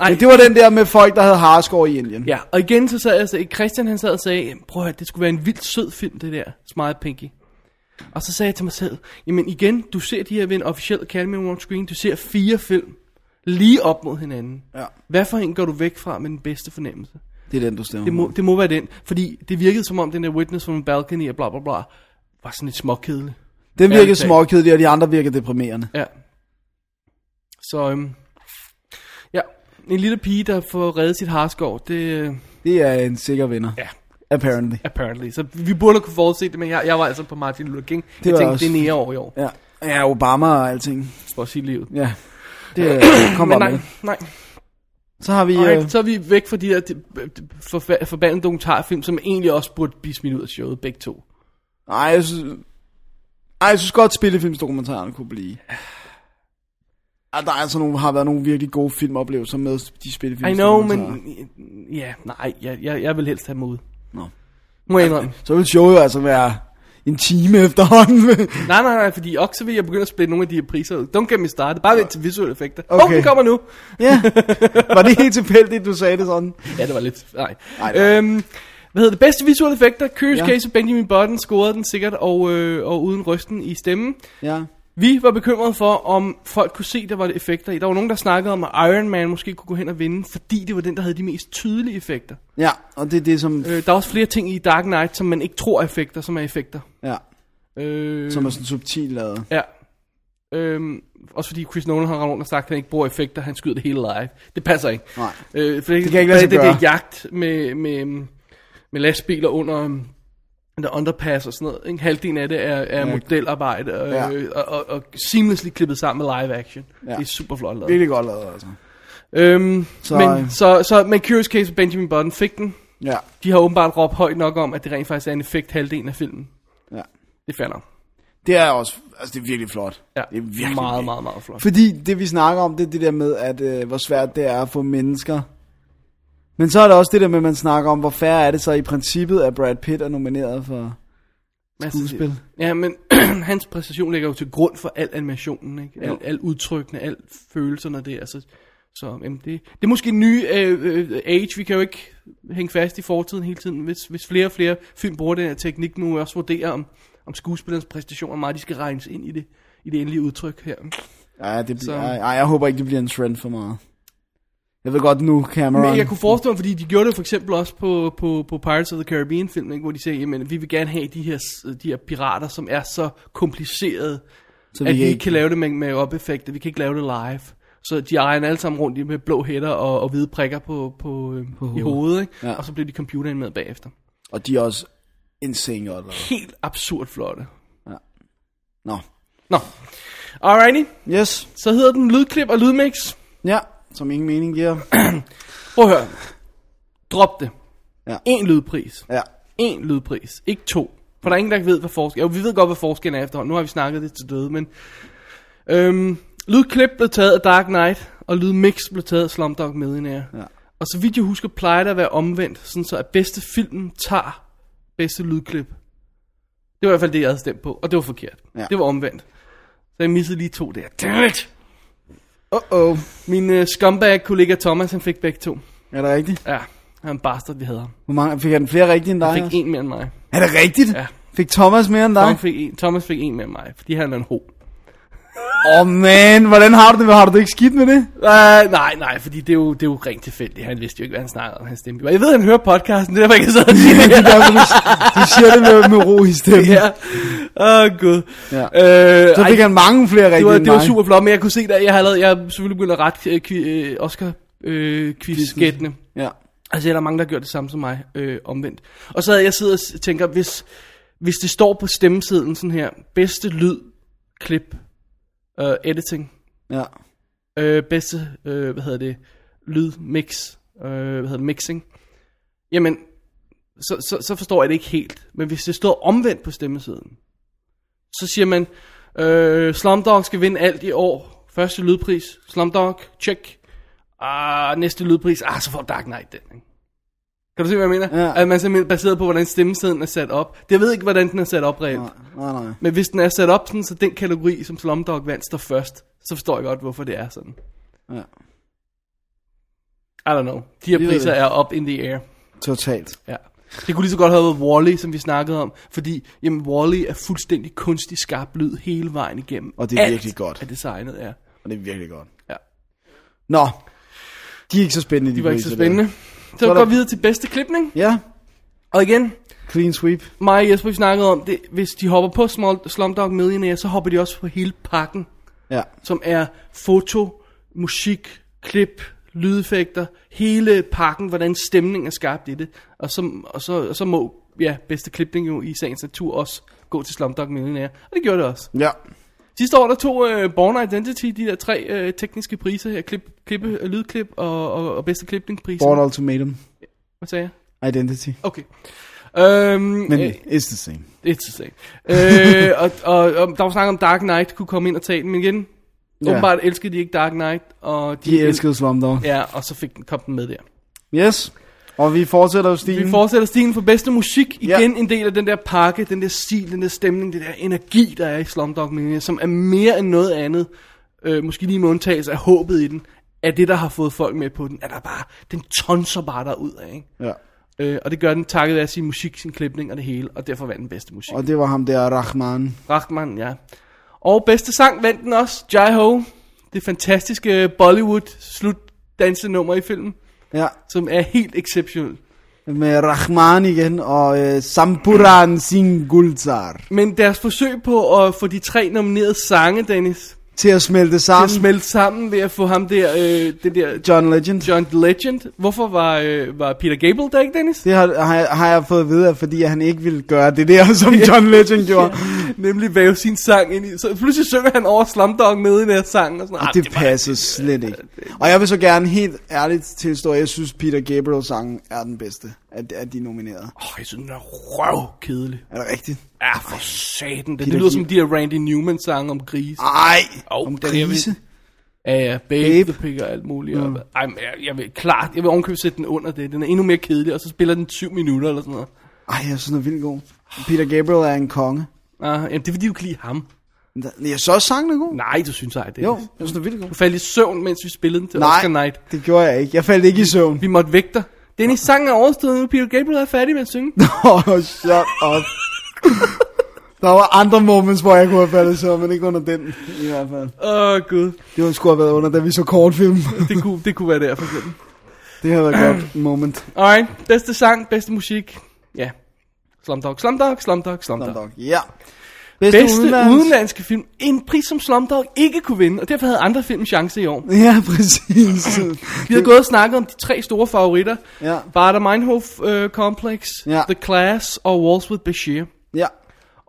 Speaker 1: Ej,
Speaker 2: Det var den der med folk, der havde harskår i Indien.
Speaker 1: Ja, og igen så sad jeg og sagde, Christian han sad og sagde, prøv at høre, det skulle være en vildt sød film, det der, Smile Pinky. Og så sagde jeg til mig selv, jamen igen, du ser de her ved en officiel Academy Award screen, du ser fire film lige op mod hinanden.
Speaker 2: Ja.
Speaker 1: Hvad for en går du væk fra med den bedste fornemmelse?
Speaker 2: Det er den, du stemmer.
Speaker 1: Det må, det må være den, fordi det virkede som om den der Witness from a Balcony og bla bla bla, var sådan lidt småkedelig.
Speaker 2: Den
Speaker 1: Ærligt
Speaker 2: virker
Speaker 1: talt.
Speaker 2: småkedelig, og de andre virker deprimerende.
Speaker 1: Ja. Så, øhm, ja, en lille pige, der får reddet sit harskov, det, øh,
Speaker 2: Det er en sikker vinder.
Speaker 1: ja,
Speaker 2: Apparently.
Speaker 1: apparently. Så vi burde kunne forudse det, men jeg, jeg var altså på Martin Luther King. Det jeg
Speaker 2: var
Speaker 1: tænkte,
Speaker 2: også-
Speaker 1: det er nære over i år,
Speaker 2: Ja. Ja, Obama og alting.
Speaker 1: for at sige livet.
Speaker 2: Ja. Det
Speaker 1: <coughs>
Speaker 2: kommer
Speaker 1: Men
Speaker 2: med.
Speaker 1: nej, nej.
Speaker 2: Så har vi...
Speaker 1: Yeah.
Speaker 2: Øh,
Speaker 1: Så er vi væk fra de der de, de, forfa- forbandede dokumentarfilm, som egentlig også burde blive smidt ud af showet, begge to. Ligesom
Speaker 2: nej, øh, jeg synes... Ej, jeg synes godt, spillefilmsdokumentarerne kunne blive. Ja, der er altså nogle, har været nogle virkelig gode filmoplevelser med de
Speaker 1: I know, men
Speaker 2: spillefilmsdokumentarer.
Speaker 1: ja, nej, jeg, jeg, jeg vil helst have dem ud.
Speaker 2: Nå.
Speaker 1: Må jeg indrømme.
Speaker 2: Så vil showet jo altså være en time <laughs> efterhånden.
Speaker 1: <laughs> Nej, nej, nej, fordi også vil jeg begynde at splitte nogle af de her priser ud. Don't get me started. Bare vent til visuelle effekter. Okay. Oh,
Speaker 2: Okay.
Speaker 1: den kommer nu.
Speaker 2: ja. Var det helt tilfældigt, du sagde det sådan?
Speaker 1: Ja, det var lidt... Nej.
Speaker 2: Nej, det var-
Speaker 1: øhm, hvad hedder det? Bedste visuelle effekter. Curious
Speaker 2: Ja.
Speaker 1: ja. Case of Benjamin Button scorede den sikkert, og, øh, og uden rysten i stemmen.
Speaker 2: Ja.
Speaker 1: Vi var bekymrede for, om folk kunne se, der var effekter i. Der var nogen, der snakkede om, at Iron Man måske kunne gå hen og vinde, fordi det var den, der havde de mest tydelige effekter.
Speaker 2: Ja, og det er det, som...
Speaker 1: Øh, der er også flere ting i Dark Knight, som man ikke tror er effekter, som er effekter.
Speaker 2: Ja,
Speaker 1: Øh,
Speaker 2: som er sådan subtilt lavet.
Speaker 1: Ja. Øhm, også fordi Chris Nolan har rendt rundt og sagt, at han ikke bruger effekter, han skyder det hele live. Det passer ikke.
Speaker 2: Nej.
Speaker 1: Øh, for det,
Speaker 2: Det kan ikke lade sig
Speaker 1: det,
Speaker 2: gøre.
Speaker 1: Det er jagt med, med, med lastbiler under øhm, der underpass og sådan noget. Ikke? Halvdelen af det er, er
Speaker 2: Ja.
Speaker 1: modelarbejde øh,
Speaker 2: Ja.
Speaker 1: og, og, og seamlessly klippet sammen med live action.
Speaker 2: Ja.
Speaker 1: Ja. Det er super flot lavet.
Speaker 2: Virkelig godt lavet, altså.
Speaker 1: Øhm,
Speaker 2: Så- øh,
Speaker 1: så, men, så, så, men Curious Case of Benjamin Button fik den.
Speaker 2: Ja,
Speaker 1: De har åbenbart råbt højt nok om, at det rent faktisk er en effekt halvdelen af filmen.
Speaker 2: ja.
Speaker 1: Det falder.
Speaker 2: Det er også, altså det er virkelig flot.
Speaker 1: Ja,
Speaker 2: Det er virkelig
Speaker 1: meget, meget, meget flot.
Speaker 2: Fordi det vi snakker om, det er det der med, at øh, hvor svært det er at få mennesker. Men så er der også det der med, at man snakker om, hvor færre er det så i princippet, at Brad Pitt er nomineret for...
Speaker 1: Masse
Speaker 2: skuespil.
Speaker 1: til. Altså, Ja, men <clears throat> hans præstation ligger jo til grund for al animationen, ikke? Al,
Speaker 2: Jo.
Speaker 1: al udtrykkene, al følelserne der, altså. Så jamen, det, det er måske en ny øh, øh, age, vi kan jo ikke hænge fast i fortiden hele tiden, hvis, hvis flere og flere film bruger den her teknik, nu må vi også vurdere om, om skuespillernes præstationer, hvor meget de skal regnes ind i det, i det endelige udtryk her.
Speaker 2: Ja, det bliver,
Speaker 1: Så-
Speaker 2: ej, ej, jeg håber ikke, det bliver en trend for meget. Jeg ved godt nu, Cameron.
Speaker 1: Men jeg kunne forestille mig, fordi de gjorde det for eksempel også på, på, på Pirates of the Caribbean filmen, ikke? hvor de sagde, jamen vi vil gerne have de her, s- de her pirater, som er så komplicerede,
Speaker 2: så
Speaker 1: at vi
Speaker 2: kan
Speaker 1: ikke kan lave det med make-up effekter, vi kan ikke lave det live. Så de ejer alle sammen rundt i med blå hætter og, og hvide prikker på, på, øh, på i hovedet, ikke?
Speaker 2: Ja.
Speaker 1: Ja. og så bliver de computeren med bagefter.
Speaker 2: Og de er også insane godt lavet.
Speaker 1: Helt absurd flotte.
Speaker 2: Nå.
Speaker 1: Nå, alrighty,
Speaker 2: Yes.
Speaker 1: så hedder den lydklip og lydmix.
Speaker 2: Ja, som ingen mening <clears throat> giver.
Speaker 1: Prøv at høre, drop det.
Speaker 2: Ja.
Speaker 1: En lydpris,
Speaker 2: Ja.
Speaker 1: en lydpris, ikke to. For der er ingen, der ved, hvad forskellen er. Jo, vi ved godt, hvad forskellen er efterhånden. Nu har vi snakket det til døde, men... Øhm, lydklip blev taget af Dark Knight, og lydmix blev taget af Slumdog Millionaire.
Speaker 2: Ja.
Speaker 1: Og så vidt jeg husker, plejer det at være omvendt, sådan så at bedste film tager bedste lydklip. Det var i hvert fald det, jeg havde stemt på, og det var forkert.
Speaker 2: Ja.
Speaker 1: Det var omvendt. Så jeg missede lige to der. Damn it!
Speaker 2: Uh-oh.
Speaker 1: Min øh, scumbag-kollega Thomas, han fik begge to.
Speaker 2: Er det rigtigt?
Speaker 1: Ja, han bastard, vi havde ham.
Speaker 2: Hvor mange, fik han flere rigtige end dig?
Speaker 1: Han
Speaker 2: også?
Speaker 1: fik en mere end mig.
Speaker 2: Er det rigtigt?
Speaker 1: Ja.
Speaker 2: Fik Thomas mere end dig?
Speaker 1: Thomas fik, en, Thomas fik en mere end mig, fordi han er en ho.
Speaker 2: Åh oh, man, hvordan har du det? Har du det ikke skidt med det?
Speaker 1: Uh, nej, nej, fordi det er, jo, det er jo rent tilfældigt. Han vidste jo ikke, hvad han snakkede om. Han stemte jo bare. Jeg ved, han hører podcasten, det er derfor, jeg kan sidde og sige det <laughs>
Speaker 2: Det er derfor, du, du siger det med, med ro i stemmen.
Speaker 1: her. Åh, oh, gud.
Speaker 2: Ja.
Speaker 1: Øh,
Speaker 2: Så fik
Speaker 1: ej,
Speaker 2: han mange flere
Speaker 1: det,
Speaker 2: rigtige
Speaker 1: var,
Speaker 2: end
Speaker 1: det var
Speaker 2: mig.
Speaker 1: super flot, men jeg kunne se, at jeg har allerede, jeg er selvfølgelig begyndt at rette øh, kvi, øh, Oscar øh, quiz
Speaker 2: Ja.
Speaker 1: Altså, der er mange, der har gjort det samme som mig øh, omvendt. Og så havde jeg siddet og s- tænker, hvis, hvis det står på stemmesedlen sådan her, bedste lyd, klip, øh, editing,
Speaker 2: ja.
Speaker 1: øh, bedste, øh, hvad hedder det, lyd, mix, øh, hvad hedder det, mixing, jamen, så, så, så forstår jeg det ikke helt. Men hvis det står omvendt på stemmesiden, så siger man, øh, Slumdog skal vinde alt i år. Første lydpris, Slumdog, check. Ah, næste lydpris, ah, så får Dark Knight den, ikke? Kan du se, hvad jeg mener?
Speaker 2: Ja.
Speaker 1: At man simpelthen baseret på, hvordan stemmesiden er sat op. Jeg ved ikke, hvordan den er sat op reelt.
Speaker 2: Nej, nej, nej.
Speaker 1: Men hvis den er sat op sådan, så den kategori, som Slumdog vandt, står først, så forstår jeg godt, hvorfor det er sådan.
Speaker 2: Ja.
Speaker 1: I don't know. De her
Speaker 2: Vi ved
Speaker 1: priser
Speaker 2: det.
Speaker 1: er up in the air.
Speaker 2: Totalt.
Speaker 1: Ja. Det kunne lige så godt have været Wall-E, som vi snakkede om, fordi jamen, Wall-E er fuldstændig kunstig skarp lyd hele vejen igennem.
Speaker 2: Og det er
Speaker 1: Alt
Speaker 2: virkelig godt.
Speaker 1: er designet, ja.
Speaker 2: Og det er virkelig godt.
Speaker 1: ja.
Speaker 2: Nå, de er ikke så spændende, de,
Speaker 1: Det var ikke
Speaker 2: priser
Speaker 1: så
Speaker 2: der.
Speaker 1: spændende. Så
Speaker 2: er
Speaker 1: vi
Speaker 2: der-
Speaker 1: går videre til bedste klipning.
Speaker 2: Ja,
Speaker 1: Og igen,
Speaker 2: clean sweep.
Speaker 1: mig og Jesper, vi snakkede om, det, hvis de hopper på Small, Slumdog Millionaire, så hopper de også på hele pakken,
Speaker 2: Ja,
Speaker 1: som er foto, musik, klip, lydeffekter, hele pakken, hvordan stemningen er skabt i det. Og så, og så, og så må ja, bedste klipning jo i sagens natur også gå til Slumdog Millionaire. Og det gjorde det også.
Speaker 2: ja.
Speaker 1: Sidste år, der tog øh, Born Identity de der tre øh, tekniske priser her. Klip, klippe, øh, lydklip og, og, og bedste klipningprisen.
Speaker 2: Born Ultimatum.
Speaker 1: Hvad sagde jeg?
Speaker 2: Identity.
Speaker 1: Okay. Øhm,
Speaker 2: Men
Speaker 1: øh,
Speaker 2: it's the same.
Speaker 1: It's the same. øh, og, og, og der var snak om Dark Knight kunne komme ind og tage den, men igen,
Speaker 2: Ja.
Speaker 1: ja. åbenbart elskede de ikke Dark Knight. Og de,
Speaker 2: De elskede Slumdog.
Speaker 1: Ja, og så fik den, kom den med der.
Speaker 2: Yes. Og vi fortsætter jo stilen.
Speaker 1: Vi fortsætter stilen for bedste musik.
Speaker 2: Mm. Ja.
Speaker 1: Igen en del af den der pakke, den der stil, den der stemning, den der energi, der er i Slumdog Millionaire, som er mere end noget andet, øh, måske lige med undtagelse af håbet i den, er det, der har fået folk med på den. Er der bare, den tonser bare derud af, ikke?
Speaker 2: Ja.
Speaker 1: Øh, og det gør den takket af sin musik, sin klipning og det hele, og derfor vandt den bedste musik.
Speaker 2: Og det var ham der, Rahman.
Speaker 1: Rachman, ja. Og bedste sang vandt den også, Jai Ho. Det fantastiske Bollywood slutdansenummer i filmen,
Speaker 2: Ja,
Speaker 1: som er helt exceptionelt.
Speaker 2: med Rahman igen og øh, Sampuran Singh Gulzar.
Speaker 1: Men deres forsøg på at få de tre nominerede sange, Dennis,
Speaker 2: Til at smelte
Speaker 1: til
Speaker 2: sammen.
Speaker 1: at smelte sammen ved at få ham der, øh, den der
Speaker 2: John Legend.
Speaker 1: John Legend. Hvorfor var, øh, var Peter Gable der ikke, Dennis?
Speaker 2: Det har, har, jeg, har jeg fået at vide, er, fordi han ikke ville gøre det der, <laughs> som John Legend gjorde.
Speaker 1: Nemlig væve sin sang ind i. Så pludselig synger han over Slumdog med i den her sang. Og sådan,
Speaker 2: Og
Speaker 1: "Ah,
Speaker 2: det
Speaker 1: var-
Speaker 2: passer slet ikke. Og jeg vil så gerne helt ærligt tilstå, at jeg synes, Peter Gabriel-sangen er den bedste af, af de nominerede.
Speaker 1: Åh, jeg synes, den er røvkedelig.
Speaker 2: Er det rigtigt?
Speaker 1: Ja, for satan. Det, det
Speaker 2: Peter Ah,
Speaker 1: lyder som
Speaker 2: Gable.
Speaker 1: de her Randy Newman-sange om grise.
Speaker 2: Ej,
Speaker 1: Åh,
Speaker 2: om
Speaker 1: den er jeg
Speaker 2: grise.
Speaker 1: ved. Ja, ja, babe,
Speaker 2: Babe.
Speaker 1: babe. the pig og alt muligt. Mm. Ej, men jeg, jeg vil klart, jeg vil ovenkøbe sætte den under det. Den er endnu mere kedelig, og så spiller den 7 minutter eller sådan noget.
Speaker 2: Ej, jeg synes, den er vildt god. Peter Gabriel er en konge.
Speaker 1: Ah, jamen, det er fordi, du kan lide ham.
Speaker 2: Jeg så er sangen er god.
Speaker 1: Nej, du synes ej, det
Speaker 2: Jo, jeg synes, den er vildt god.
Speaker 1: Du faldt i søvn, mens vi spillede den til
Speaker 2: Nej,
Speaker 1: Oscar Night.
Speaker 2: det gjorde jeg ikke. Jeg faldt ikke i søvn.
Speaker 1: Vi måtte vække dig. Dennis, sangen er overstået nu. Peter Gabriel er færdig med at
Speaker 2: <laughs>
Speaker 1: synge.
Speaker 2: Åh, oh, shut up. Der var andre moments, hvor jeg kunne have faldet i søvn, men ikke under den i hvert fald.
Speaker 1: Åh, oh, gud.
Speaker 2: Det var sgu have været under, da vi så kortfilm. <laughs>
Speaker 1: Det kunne, det kunne være der, for eksempel.
Speaker 2: det havde været godt moment.
Speaker 1: Alright, bedste sang, bedste musik. Ja. Slumdog, Slumdog, Slumdog, Slumdog.
Speaker 2: Slumdog. Ja. Bedste,
Speaker 1: Bedste udenlandske. udenlandske film. En pris, som Slumdog ikke kunne vinde, og derfor havde andre film en chance i år.
Speaker 2: Ja,
Speaker 1: <laughs>
Speaker 2: præcis.
Speaker 1: Vi havde gået og snakket om de tre store favoritter.
Speaker 2: Ja.
Speaker 1: Bader Meinhof øh, Complex,
Speaker 2: Ja.
Speaker 1: The Class og Walls with Bashir.
Speaker 2: ja.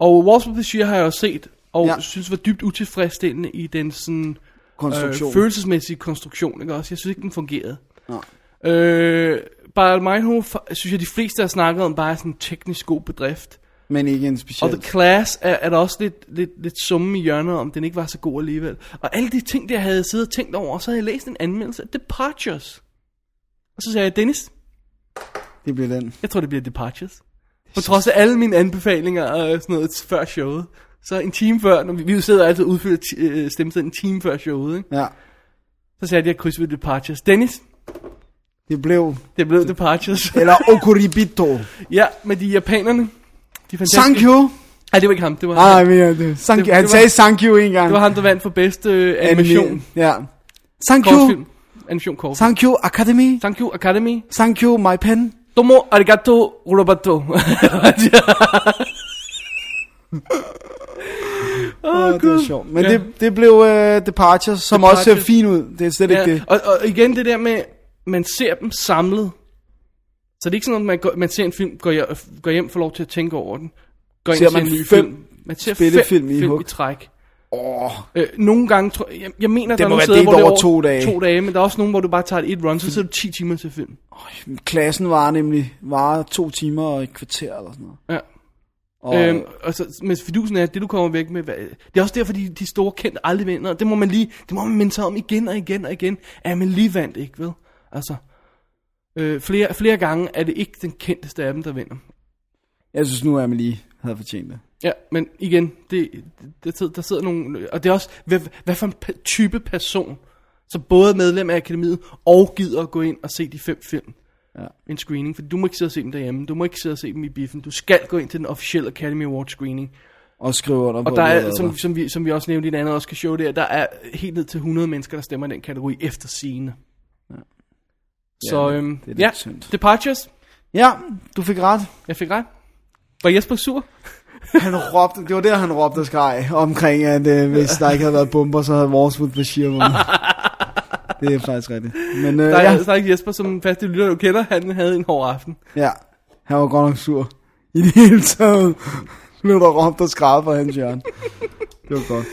Speaker 1: Og Walls with Bashir har jeg også set, og
Speaker 2: Ja.
Speaker 1: ja. synes var dybt utilfredsstillende i den sådan, øh,
Speaker 2: Konstruktion. Øh,
Speaker 1: følelsesmæssige konstruktion. Ikke? Også, jeg synes ikke, den fungerede.
Speaker 2: Nej.
Speaker 1: Øh, Bader Meinhof, synes jeg, de fleste, der har snakket om, bare er sådan en teknisk god bedrift.
Speaker 2: men ikke en
Speaker 1: Og
Speaker 2: speciel.
Speaker 1: The Class er, er der også lidt, lidt, lidt summe i hjørnet, om den ikke var så god alligevel. Og alle de ting, der jeg havde siddet og tænkt over, og så havde jeg læst en anmeldelse af Departures. Og så sagde jeg, Dennis,
Speaker 2: Det bliver den.
Speaker 1: jeg tror, det bliver Departures. På trods af alle mine anbefalinger og sådan noget før showet. Så en time før, når vi, vi jo sidder altid og udfylder ti- øh, stemmesedlen en time før showet, ikke?
Speaker 2: Ja.
Speaker 1: så satte jeg kryds ved Departures. Dennis,
Speaker 2: Det blev...
Speaker 1: det blev Departures.
Speaker 2: Eller Okuribito.
Speaker 1: ja, med de japanerne. De fantastiske.
Speaker 2: Sankyo.
Speaker 1: Nej, det var ikke ham. Det var,
Speaker 2: Nej,
Speaker 1: ham.
Speaker 2: men ja, det. Sankyo.
Speaker 1: Det-
Speaker 2: Han
Speaker 1: det var-
Speaker 2: sagde Sankyo en gang.
Speaker 1: det var ham, der vandt for bedste øh, animation.
Speaker 2: Ja. Sankyo.
Speaker 1: Kortfilm. Animation kortfilm.
Speaker 2: Sankyo Academy.
Speaker 1: Thank you, Academy.
Speaker 2: Sankyo My Pen.
Speaker 1: Domo arigato, <laughs> Roberto.
Speaker 2: Åh, det er sjovt. Men ja. det, det blev uh, Departures, som Departures.
Speaker 1: Departures.
Speaker 2: også ser fin ud. Det er slet ja. ikke
Speaker 1: ja,
Speaker 2: det.
Speaker 1: og, og igen det der med, man ser dem samlet. Så det er ikke sådan, at man, går, man ser en film, går, hjem- går hjem får lov til at tænke over den. Går
Speaker 2: Ser
Speaker 1: ind og
Speaker 2: man
Speaker 1: en ny
Speaker 2: fem
Speaker 1: film. Man ser
Speaker 2: spillefilm
Speaker 1: fem
Speaker 2: i
Speaker 1: film
Speaker 2: hug?
Speaker 1: i træk.
Speaker 2: Åh,
Speaker 1: Øh, nogle gange, tror, jeg, jeg mener, der er
Speaker 2: må
Speaker 1: nogle
Speaker 2: være
Speaker 1: steder,
Speaker 2: delt
Speaker 1: hvor det er
Speaker 2: over
Speaker 1: over
Speaker 2: to dage.
Speaker 1: to dage, men der er også nogle, hvor du bare tager et run, så sidder du 10 timer til film.
Speaker 2: klassen var nemlig var to timer og et kvarter eller sådan noget.
Speaker 1: Ja.
Speaker 2: Og,
Speaker 1: Og... Øhm, og så, men fidusen er, at det du kommer væk med, hvad- det er også derfor, de, de store kendte aldrig vinder. Det må man lige, det må man minde sig om igen og igen og igen, at man lige vandt, ikke vel? Altså, øh, flere, flere gange er det ikke den kendteste af dem, der vinder.
Speaker 2: Jeg synes nu, at man lige havde fortjent det.
Speaker 1: Ja, men igen, det, det, der, der sidder nogle, og det er også, hvad, hvad for en pe- type person, som både er medlem af akademiet og gider at gå ind og se de fem film. Ja. En screening, for du må ikke sidde og se dem derhjemme. Du må ikke sidde og se dem i biffen. Du skal gå ind til den officielle Academy Award screening.
Speaker 2: Og skrive under på
Speaker 1: Og der
Speaker 2: det,
Speaker 1: er,
Speaker 2: eller
Speaker 1: som,
Speaker 2: hvad?
Speaker 1: som, vi, som vi også nævnte i den anden Oscar show der, der er helt ned til 100 mennesker, der stemmer i den kategori efter scene. Ja. Så
Speaker 2: Ja,
Speaker 1: øhm,
Speaker 2: det er lidt
Speaker 1: ja,
Speaker 2: synd.
Speaker 1: Departures.
Speaker 2: Ja, du fik ret.
Speaker 1: Jeg fik ret. Var Jesper sur?
Speaker 2: Han råbte, det var der, han råbte og skreg omkring, at øh, hvis der ikke havde været bomber, så havde vores Wood Bashir
Speaker 1: <laughs>
Speaker 2: vundet. Det er faktisk rigtigt. Men øh,
Speaker 1: Der er,
Speaker 2: ja,
Speaker 1: ja. der er ikke Jesper, som faste lytter, du kender. Han havde en hård aften.
Speaker 2: ja, han var godt nok sur. I det hele taget blev der råbt og skreg fra hans hjørne. Det var godt.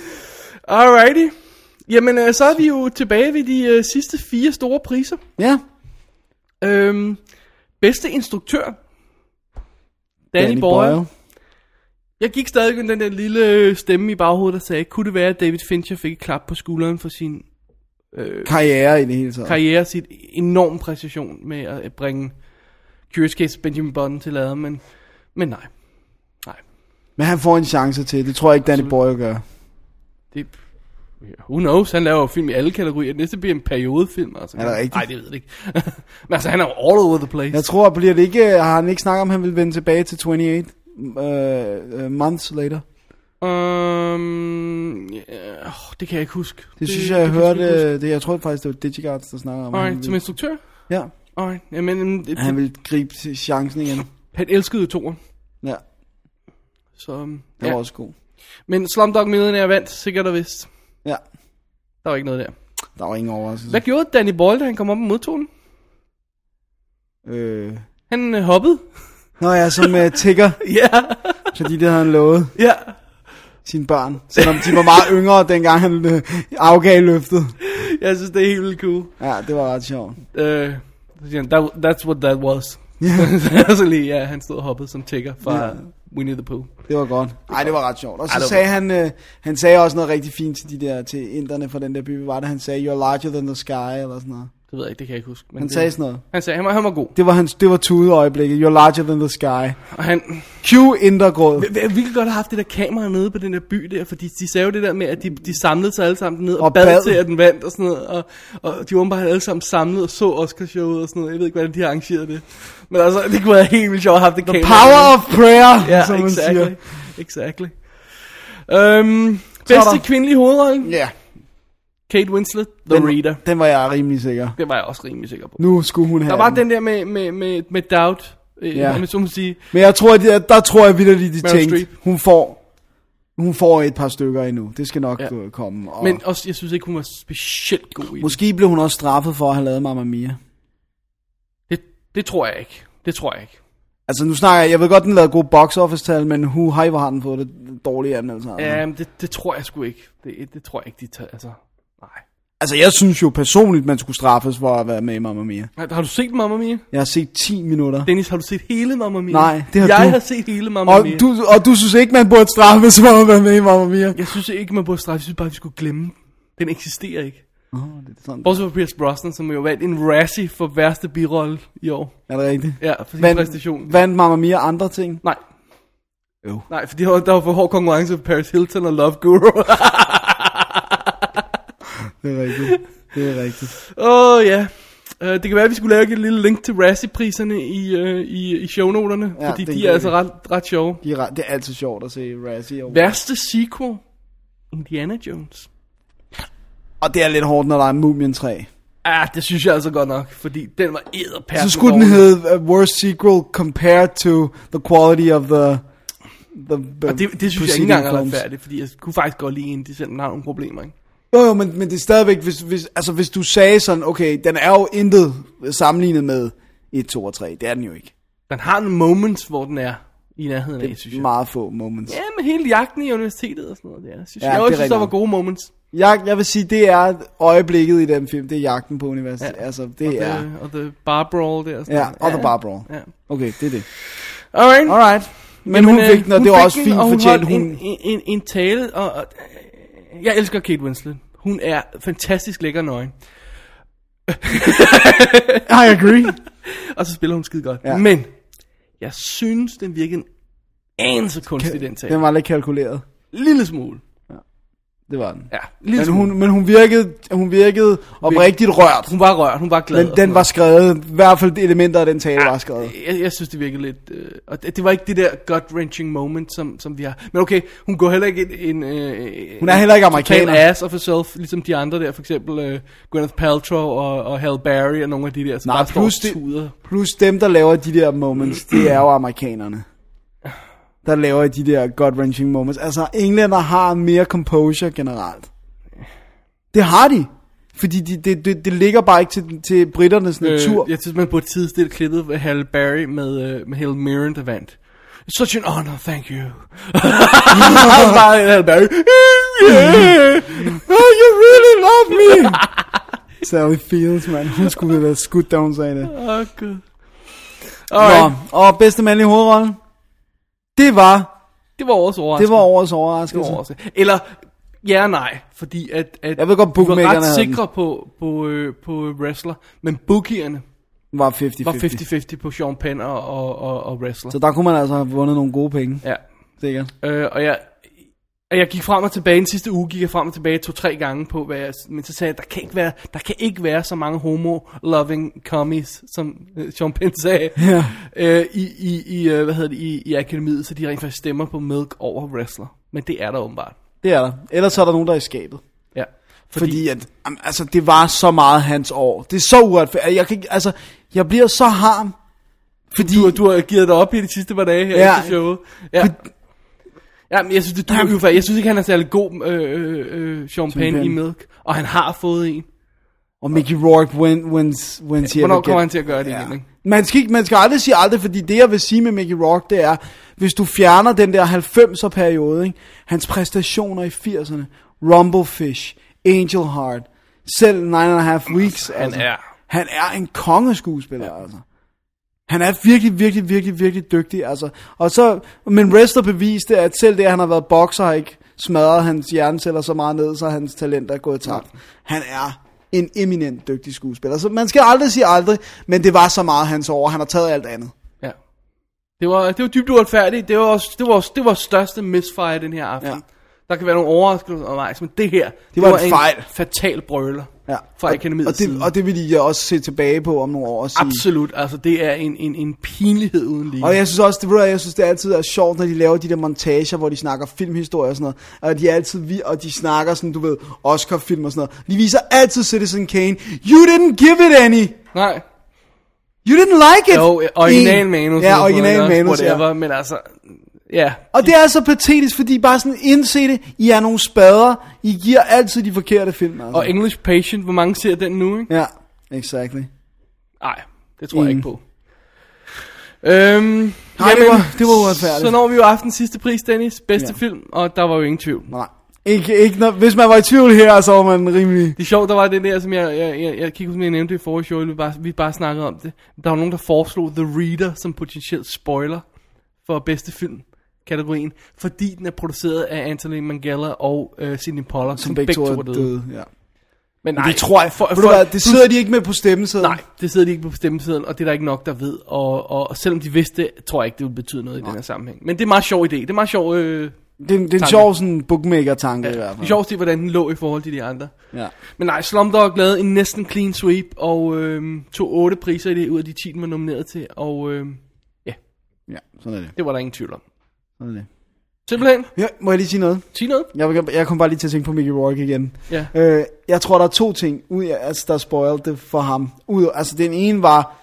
Speaker 1: Alrighty. Jamen, øh, så er vi jo tilbage ved de øh, sidste fire store priser.
Speaker 2: Ja,
Speaker 1: Øhm, bedste instruktør. Danny,
Speaker 2: Danny
Speaker 1: Boyle.
Speaker 2: Boyle.
Speaker 1: Jeg gik stadig med den der lille øh, stemme i baghovedet, der sagde, kunne det være, at David Fincher fik et klap på skulderen for sin øh,
Speaker 2: Karriere i det hele taget.
Speaker 1: karriere, sit enorm præcision med at øh, bringe Curious Case Benjamin Button til lade, men, men nej. Nej.
Speaker 2: Men han får en chance til. Det tror jeg ikke, Danny Boyle gør.
Speaker 1: Det, ja, who knows? Han laver jo film i alle kategorier. Det næste bliver en periodefilm. Altså.
Speaker 2: Er det rigtigt?
Speaker 1: Nej, det ved jeg ikke. <laughs> men altså, han er jo all over the place.
Speaker 2: Jeg tror, bliver det ikke, øh, har han ikke snakket om, at han vil vende tilbage til 28 uh, uh, months later.
Speaker 1: Um, yeah, åh, det kan jeg ikke huske.
Speaker 2: Det, det synes jeg, jeg
Speaker 1: kan
Speaker 2: hørte,
Speaker 1: sgu ikke huske.
Speaker 2: øh, det, jeg tror faktisk, det var DigiGuards, der snakker om. at han
Speaker 1: Alright, som
Speaker 2: ville-
Speaker 1: instruktør?
Speaker 2: Ja,
Speaker 1: Alright, jamen, øhm, det,
Speaker 2: at han vil gribe til chancen igen.
Speaker 1: han elskede toren.
Speaker 2: Ja,
Speaker 1: Så, øhm,
Speaker 2: det var
Speaker 1: ja.
Speaker 2: også god.
Speaker 1: Men Slumdog Millionaire vandt, sikkert og vist.
Speaker 2: Ja,
Speaker 1: Der var ikke noget der.
Speaker 2: der var ingen overraskelse.
Speaker 1: Hvad gjorde Danny Boyle, da han kom op og modtog den?
Speaker 2: Øh.
Speaker 1: Han øh, hoppede.
Speaker 2: Nå ja, som uh, tigger,
Speaker 1: <laughs> Ja,
Speaker 2: fordi det havde han lovet
Speaker 1: ja.
Speaker 2: sine børn. Selvom de var meget yngre, dengang han uh, afgav løftet.
Speaker 1: Jeg synes, det er helt vildt cool.
Speaker 2: Ja, det var ret sjovt. <laughs>
Speaker 1: Øh, så siger han, that, that's what that was. <laughs>
Speaker 2: Ja,
Speaker 1: så lige, ja, han stod og hoppede som tigger fra
Speaker 2: Ja.
Speaker 1: Winnie the Pooh.
Speaker 2: det var godt. Nej, det var ret sjovt. Og
Speaker 1: Ej, det
Speaker 2: så
Speaker 1: var
Speaker 2: sagde han, uh, han sagde også noget rigtig fint til de der, til inderne fra den der by. Hvad Var det, han sagde, you're larger than the sky, eller sådan noget.
Speaker 1: Det ved jeg ikke, det kan jeg ikke huske. Men
Speaker 2: Han
Speaker 1: det,
Speaker 2: sagde sådan noget.
Speaker 1: Han sagde, han var, han var god.
Speaker 2: Det var hans, det var tude øjeblikket. You're larger than the sky.
Speaker 1: Og han,
Speaker 2: Q Indergrød.
Speaker 1: Jeg ville virkelig godt have haft det der kamera nede på den der by der, fordi de sagde jo det der med, at de, de samlede sig alle sammen ned og,
Speaker 2: Og
Speaker 1: og bad,
Speaker 2: bad.
Speaker 1: til, at den vandt og sådan noget. Og, og de var åbenbart alle sammen samlet og så Oscarshowet og sådan noget. Jeg ved ikke, hvordan de har arrangeret det. Men altså, det kunne være helt vildt sjovt at have haft det kamera.
Speaker 2: Power
Speaker 1: nede.
Speaker 2: of prayer,
Speaker 1: ja,
Speaker 2: <laughs> som man
Speaker 1: exactly,
Speaker 2: siger.
Speaker 1: Exactly. Øhm, bedste
Speaker 2: der-
Speaker 1: kvindelige hovedrolle?
Speaker 2: Ja.
Speaker 1: Kate Winslet, The
Speaker 2: Den-
Speaker 1: Reader.
Speaker 2: Den var jeg rimelig sikker.
Speaker 1: Det var jeg også rimelig sikker på.
Speaker 2: Nu skulle hun have
Speaker 1: Der var den der med, med, med, med Doubt, øh,
Speaker 2: Ja.
Speaker 1: ja. man så må sige.
Speaker 2: Men jeg tror, at de, der tror jeg vildt, de
Speaker 1: Meryl
Speaker 2: tænkte,
Speaker 1: Streep.
Speaker 2: hun får, hun får et par stykker endnu. Det skal nok
Speaker 1: Ja.
Speaker 2: ja. komme. Og
Speaker 1: Men
Speaker 2: Men,
Speaker 1: også, jeg synes ikke, hun var specielt god i det.
Speaker 2: måske blev hun også straffet for at have lavet Mamma Mia.
Speaker 1: Det, det tror jeg ikke. Det tror jeg ikke.
Speaker 2: Altså nu snakker jeg, jeg ved godt, den lavede gode box office tal, men hu hej, hvor har den fået det dårlige anmeldelser.
Speaker 1: Ja, men det, det tror jeg sgu ikke. Det, det tror jeg ikke, de tager. Altså, nej.
Speaker 2: Altså jeg synes jo personligt, man skulle straffes for at være med i Mamma Mia.
Speaker 1: Har- Har du set Mamma Mia?
Speaker 2: Jeg har set 10 minutter.
Speaker 1: Dennis, har du set hele Mamma Mia?
Speaker 2: Nej, det har
Speaker 1: jeg
Speaker 2: du.
Speaker 1: har set hele Mamma
Speaker 2: Og
Speaker 1: Mia.
Speaker 2: du, og du synes ikke, man burde straffes for at være med i Mamma Mia?
Speaker 1: Jeg synes ikke, man burde straffe. Jeg synes bare, vi skulle glemme. den. Den eksisterer ikke.
Speaker 2: Åh, det er sådan.
Speaker 1: Bortset fra Pierce Brosnan, som jo vandt en Razzie for værste birolle i år.
Speaker 2: Er det rigtigt?
Speaker 1: Ja, for sin præstation.
Speaker 2: vandt Mamma Mia andre
Speaker 1: <laughs>
Speaker 2: ting?
Speaker 1: Nej.
Speaker 2: Jo.
Speaker 1: Nej, for de har, der var for hård konkurrence for Paris Hilton og Love
Speaker 2: <laughs>
Speaker 1: Guru. Åh,
Speaker 2: Det er rigtigt. Det er rigtigt.
Speaker 1: oh, ja. Uh, det kan være, at vi skulle lave et lille link til Razzie-priserne i, uh, i, i shownoterne,
Speaker 2: Ja,
Speaker 1: ja, fordi
Speaker 2: det er en
Speaker 1: de
Speaker 2: god
Speaker 1: er altså
Speaker 2: idé.
Speaker 1: ret, ret sjove.
Speaker 2: De er, ret- det er altid sjovt at se Razzie over.
Speaker 1: Værste sequel? Indiana Jones.
Speaker 2: Og det er lidt hårdt, når der er Mumien 3.
Speaker 1: Ah, det synes jeg altså godt nok, fordi den var edderpærdig.
Speaker 2: Så skulle den hedde uh, Worst Sequel Compared to the Quality of the... the
Speaker 1: Og det, det synes jeg ikke engang er retfærdigt, fordi jeg kunne faktisk godt lide en, de selv har nogle problemer, ikke?
Speaker 2: Jo, jo, men, men det er stadigvæk, hvis, hvis, altså, hvis du sagde sådan, okay, den er jo intet sammenlignet med 1, 2 og 3. Det er den jo ikke.
Speaker 1: Den har nogle moments, hvor den er i nærheden af, synes jeg.
Speaker 2: Meget få moments.
Speaker 1: Ja, med hele jagten i universitetet og sådan noget der. Jeg synes,
Speaker 2: Ja,
Speaker 1: ja, jeg
Speaker 2: det er
Speaker 1: også synes, der var
Speaker 2: rigtigt.
Speaker 1: gode moments.
Speaker 2: Jeg, jeg vil sige, det er øjeblikket i den film, det er jagten på universitetet. Ja.
Speaker 1: Ja.
Speaker 2: Altså,
Speaker 1: Og,
Speaker 2: det er...
Speaker 1: the, Øh, og the bar brawl der. Og sådan
Speaker 2: Ja,
Speaker 1: noget.
Speaker 2: og The Bar Brawl.
Speaker 1: Ja.
Speaker 2: Okay, det er det.
Speaker 1: Alright.
Speaker 2: Alright. Men Jamen, hun
Speaker 1: øh,
Speaker 2: fik den, og det var også
Speaker 1: fik
Speaker 2: fint
Speaker 1: og hun
Speaker 2: fortjent.
Speaker 1: holdt
Speaker 2: Hun...
Speaker 1: En, en, en, en tale, og, og øh, jeg elsker Kate Winslet. Hun er fantastisk lækker nøgen.
Speaker 2: I agree.
Speaker 1: Og så spiller hun skide godt.
Speaker 2: Ja.
Speaker 1: Ja. Men, jeg synes, den virkede en anelse kunstig, den tag.
Speaker 2: Den var lidt kalkuleret.
Speaker 1: Lille smule.
Speaker 2: Det var den.
Speaker 1: Ja, lille
Speaker 2: Men
Speaker 1: smule.
Speaker 2: hun, men hun virkede, hun virkede oprigtigt rørt.
Speaker 1: Hun var rørt, hun var glad.
Speaker 2: Men den var skrevet, i hvert fald elementer af den tale var skrevet.
Speaker 1: Jeg, jeg synes, det virkede lidt... Øh, og det, det var ikke det der gut-wrenching moment, som, som vi har. Men okay, hun går heller ikke en... en øh,
Speaker 2: Hun er heller ikke
Speaker 1: en total
Speaker 2: amerikaner.
Speaker 1: ass of herself, ligesom de andre der. For eksempel øh, Gwyneth Paltrow og, og Halle Berry og nogle af de der, som
Speaker 2: Nej,
Speaker 1: bare står
Speaker 2: plus
Speaker 1: og
Speaker 2: det-
Speaker 1: tuder.
Speaker 2: Plus dem, der laver de der moments, det er jo amerikanerne. Der laver de der gut-wrenching moments. Altså, englænder har mere composure generelt. Det har de. Fordi det de, de, de ligger bare ikke til, til britternes natur.
Speaker 1: Øh, jeg synes, man burde tidsstille klippet af Halle Berry med, øh, med Halle Mirren, der vandt. Such an honor, thank you. <laughs> bare Halle Berry. Yeah.
Speaker 2: <laughs> Oh, you really love me! <laughs> Sally Fields, man. Hun skulle have været skudt, da hun sagde det.
Speaker 1: Åh, oh, gud.
Speaker 2: Nå,
Speaker 1: Alright,
Speaker 2: og bedste mandlige hovedrolle? Det var,
Speaker 1: det var årets overraskelse.
Speaker 2: det var årets overraskelse.
Speaker 1: Altså. Eller ja og nej, fordi at, at
Speaker 2: Jeg ved godt,
Speaker 1: vi var
Speaker 2: bookmakerne
Speaker 1: ret
Speaker 2: havde den.
Speaker 1: sikre på, på, øh, på wrestler, men bookierne
Speaker 2: Var
Speaker 1: var
Speaker 2: 50-50.
Speaker 1: 50-50 på Sean Penn og, og, og, og wrestler.
Speaker 2: Så der kunne man altså have vundet nogle gode penge,
Speaker 1: Ja.
Speaker 2: sikkert.
Speaker 1: Øh, og jeg, og jeg gik frem og tilbage, den sidste uge gik jeg frem og tilbage to-tre gange på, hvad jeg, men så sagde jeg, der kan ikke være, der kan ikke være så mange homo-loving commies, som øh, Sean Penn sagde,
Speaker 2: <laughs> Ja.
Speaker 1: øh, i, i, i, øh, hvad hedder det, i, i akademiet, så de rent faktisk stemmer på Milk over wrestler. Men det er der åbenbart.
Speaker 2: Det er der. Ellers så er der nogen, der er i skabet.
Speaker 1: Ja.
Speaker 2: Fordi, Fordi at, am, altså, det var så meget hans år. Det er så uretfærdigt. Jeg, kan ikke, altså, jeg bliver så harm. Fordi
Speaker 1: Du, du har givet dig op i de sidste par dage her
Speaker 2: Ja.
Speaker 1: ja. efter showet. Ja. Ja, men jeg synes, det duer jo faktisk. Jeg synes ikke, han er særlig god øh, øh, champagne
Speaker 2: Penn.
Speaker 1: i Milk. Og han har fået en.
Speaker 2: Og Mickey Rourke win, wins, wins here
Speaker 1: Hvornår
Speaker 2: again.
Speaker 1: kommer han til at gøre det igen, ikke?
Speaker 2: Man skal, ikke, man skal aldrig sige aldrig, fordi det jeg vil sige med Mickey Rourke, det er, hvis du fjerner den der 90'er periode, ikke? hans præstationer i 80'erne, Rumblefish, Angel Heart, selv Nine and a Half Weeks, han altså,
Speaker 1: er-
Speaker 2: han er en kongeskuespiller, ja. altså. Han er virkelig, virkelig, virkelig, virkelig dygtig, altså. Og så, men Wrestler beviste, at selv det, at han har været bokser, har ikke smadret hans hjerneceller så meget ned, så hans talent er gået tabt. Han er en eminent dygtig skuespiller. Så man skal aldrig sige aldrig, men det var så meget hans år, han har taget alt andet.
Speaker 1: Ja. Det var, det var dybt uretfærdigt. Det var, også, det, var også, det var største misfire den her aften.
Speaker 2: Ja.
Speaker 1: Ja. Der kan være nogle overraskelser undervejs, men det her, det,
Speaker 2: var en fejl.
Speaker 1: fatal brøler
Speaker 2: Ja.
Speaker 1: fra
Speaker 2: og,
Speaker 1: akademiets
Speaker 2: og
Speaker 1: side.
Speaker 2: det, og det vil jeg også se tilbage på om nogle år og sige.
Speaker 1: Absolut, altså det er en, en, en pinlighed uden lige.
Speaker 2: Og jeg synes også, det, ved du hvad, jeg synes, det altid er sjovt, når de laver de der montager, hvor de snakker filmhistorie og sådan noget. Og de er altid vi, og de snakker sådan, du ved, Oscar-film og sådan noget. De viser altid Citizen Kane. You didn't give it any.
Speaker 1: Nej.
Speaker 2: You didn't like it.
Speaker 1: Jo, original manus.
Speaker 2: Ja,
Speaker 1: eller
Speaker 2: original
Speaker 1: sådan noget,
Speaker 2: manus,
Speaker 1: Whatever,
Speaker 2: ja.
Speaker 1: ja. men altså, ja.
Speaker 2: Og det er så patetisk, fordi bare sådan indse det, I er nogle spader, I giver altid de forkerte film. Altså.
Speaker 1: Og English Patient, hvor mange ser den nu, ikke?
Speaker 2: Ja, exactly.
Speaker 1: Nej, det tror jeg
Speaker 2: Ingen.
Speaker 1: ikke på. Øhm,
Speaker 2: Mm. Nej, det var- det var uretfærdigt.
Speaker 1: Så når vi jo aftens sidste pris, Dennis. Bedste
Speaker 2: Ja.
Speaker 1: ja. film, og der var jo ingen tvivl.
Speaker 2: Nej. Ikke, ikke, når, hvis man var i tvivl her, så var man rimelig...
Speaker 1: Det er sjovt, der var det der, som jeg, jeg, jeg, jeg kiggede, som jeg nævnte i forrige show, vi bare, vi bare snakkede om det. Der var nogen, der foreslog The Reader som potentielt spoiler for bedste film kategorien, fordi den er produceret af Anthony Mangella og øh, Sidney Pollack, som, begge, to er døde. døde.
Speaker 2: Ja.
Speaker 1: Men
Speaker 2: Nej, det tror jeg. For, for, for, hvad, det sidder de ikke med på stemmesedlen.
Speaker 1: Nej, det sidder de ikke på bestemmelsen, og det er der ikke nok, der ved. Og, og, og selvom de vidste det, tror jeg ikke, det ville betyde noget i den her sammenhæng. Men det er en meget sjov idé. Det er en meget sjov, øh,
Speaker 2: Det er, en- det er en
Speaker 1: Tanke.
Speaker 2: sjov sådan bookmaker-tanke i hvert
Speaker 1: det er
Speaker 2: fald.
Speaker 1: sjovt at se, hvordan den lå i forhold til de andre.
Speaker 2: Ja.
Speaker 1: Men nej, Slumdog lavede en næsten clean sweep, og øh, tog otte priser i det, ud af de 10, den var nomineret til. Og øh,
Speaker 2: ja, sådan er det.
Speaker 1: det var der ingen tvivl om.
Speaker 2: Sådan er det.
Speaker 1: Simpelthen,
Speaker 2: Ja, må jeg lige sige noget?
Speaker 1: sig noget.
Speaker 2: Jeg, vil- jeg kom bare lige til at tænke på Mickey Rourke igen.
Speaker 1: Ja.
Speaker 2: Øh, jeg tror, der er to ting, ud, af- altså, der spoilede det for ham. Ud, altså, den ene var,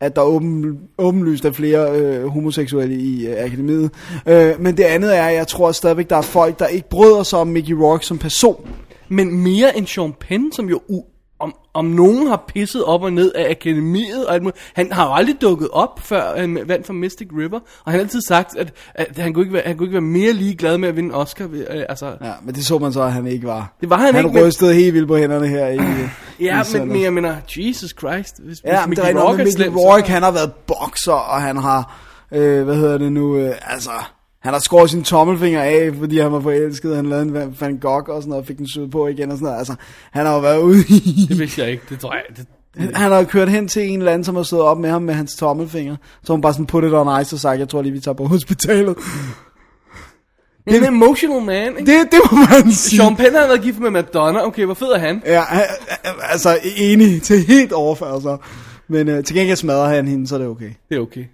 Speaker 2: at der åben, åbenlyst er flere øh, homoseksuelle i øh, akademiet. Øh, men det andet er, at jeg tror stadigvæk, der er folk, der ikke bryder sig om Mickey Rourke som person.
Speaker 1: Men mere end Sean Penn, som jo u- om, om nogen har pisset op og ned af akademiet. Og alt muligt. han har jo aldrig dukket op, før han vandt for Mystic River. Og han har altid sagt, at, at han, kunne ikke være, han kunne ikke være mere ligeglad med at vinde en Oscar. Ved, øh, altså,
Speaker 2: Ja, men det så man så, at han ikke var.
Speaker 1: Det var han
Speaker 2: han
Speaker 1: ikke, men-
Speaker 2: rystede helt vildt på hænderne her i i
Speaker 1: ja, men,
Speaker 2: søndags.
Speaker 1: men jeg mener, Jesus Christ. Hvis, hvis
Speaker 2: Ja, men det
Speaker 1: Mickey
Speaker 2: er rigtigt nok,
Speaker 1: Rourke
Speaker 2: men
Speaker 1: er
Speaker 2: Mickey
Speaker 1: slem, så-
Speaker 2: Rourke, han har været bokser, og han har, øh, hvad hedder det nu, øh, altså, han har skåret sine tommelfinger af, fordi han var forelsket, han lavede en Van- Van Gogh og sådan noget, og fik den syd på igen og sådan noget, altså, han har jo været ude i, <laughs>
Speaker 1: Det vidste jeg ikke, det tror jeg. Det,
Speaker 2: han har jo kørt hen til en eller anden, som har stået op med ham med hans tommelfinger, så hun bare sådan put it on ice og sagt, jeg tror lige, vi tager på hospitalet.
Speaker 1: En emotional man, ikke?
Speaker 2: Det, det må man sige.
Speaker 1: Sean Penn har været gift med Madonna. Okay, hvor fed er han?
Speaker 2: Ja, altså enig til helt overfærd, så. Men øh, til gengæld smadrer han hende, så er det okay.
Speaker 1: Det er
Speaker 2: <laughs>
Speaker 1: okay.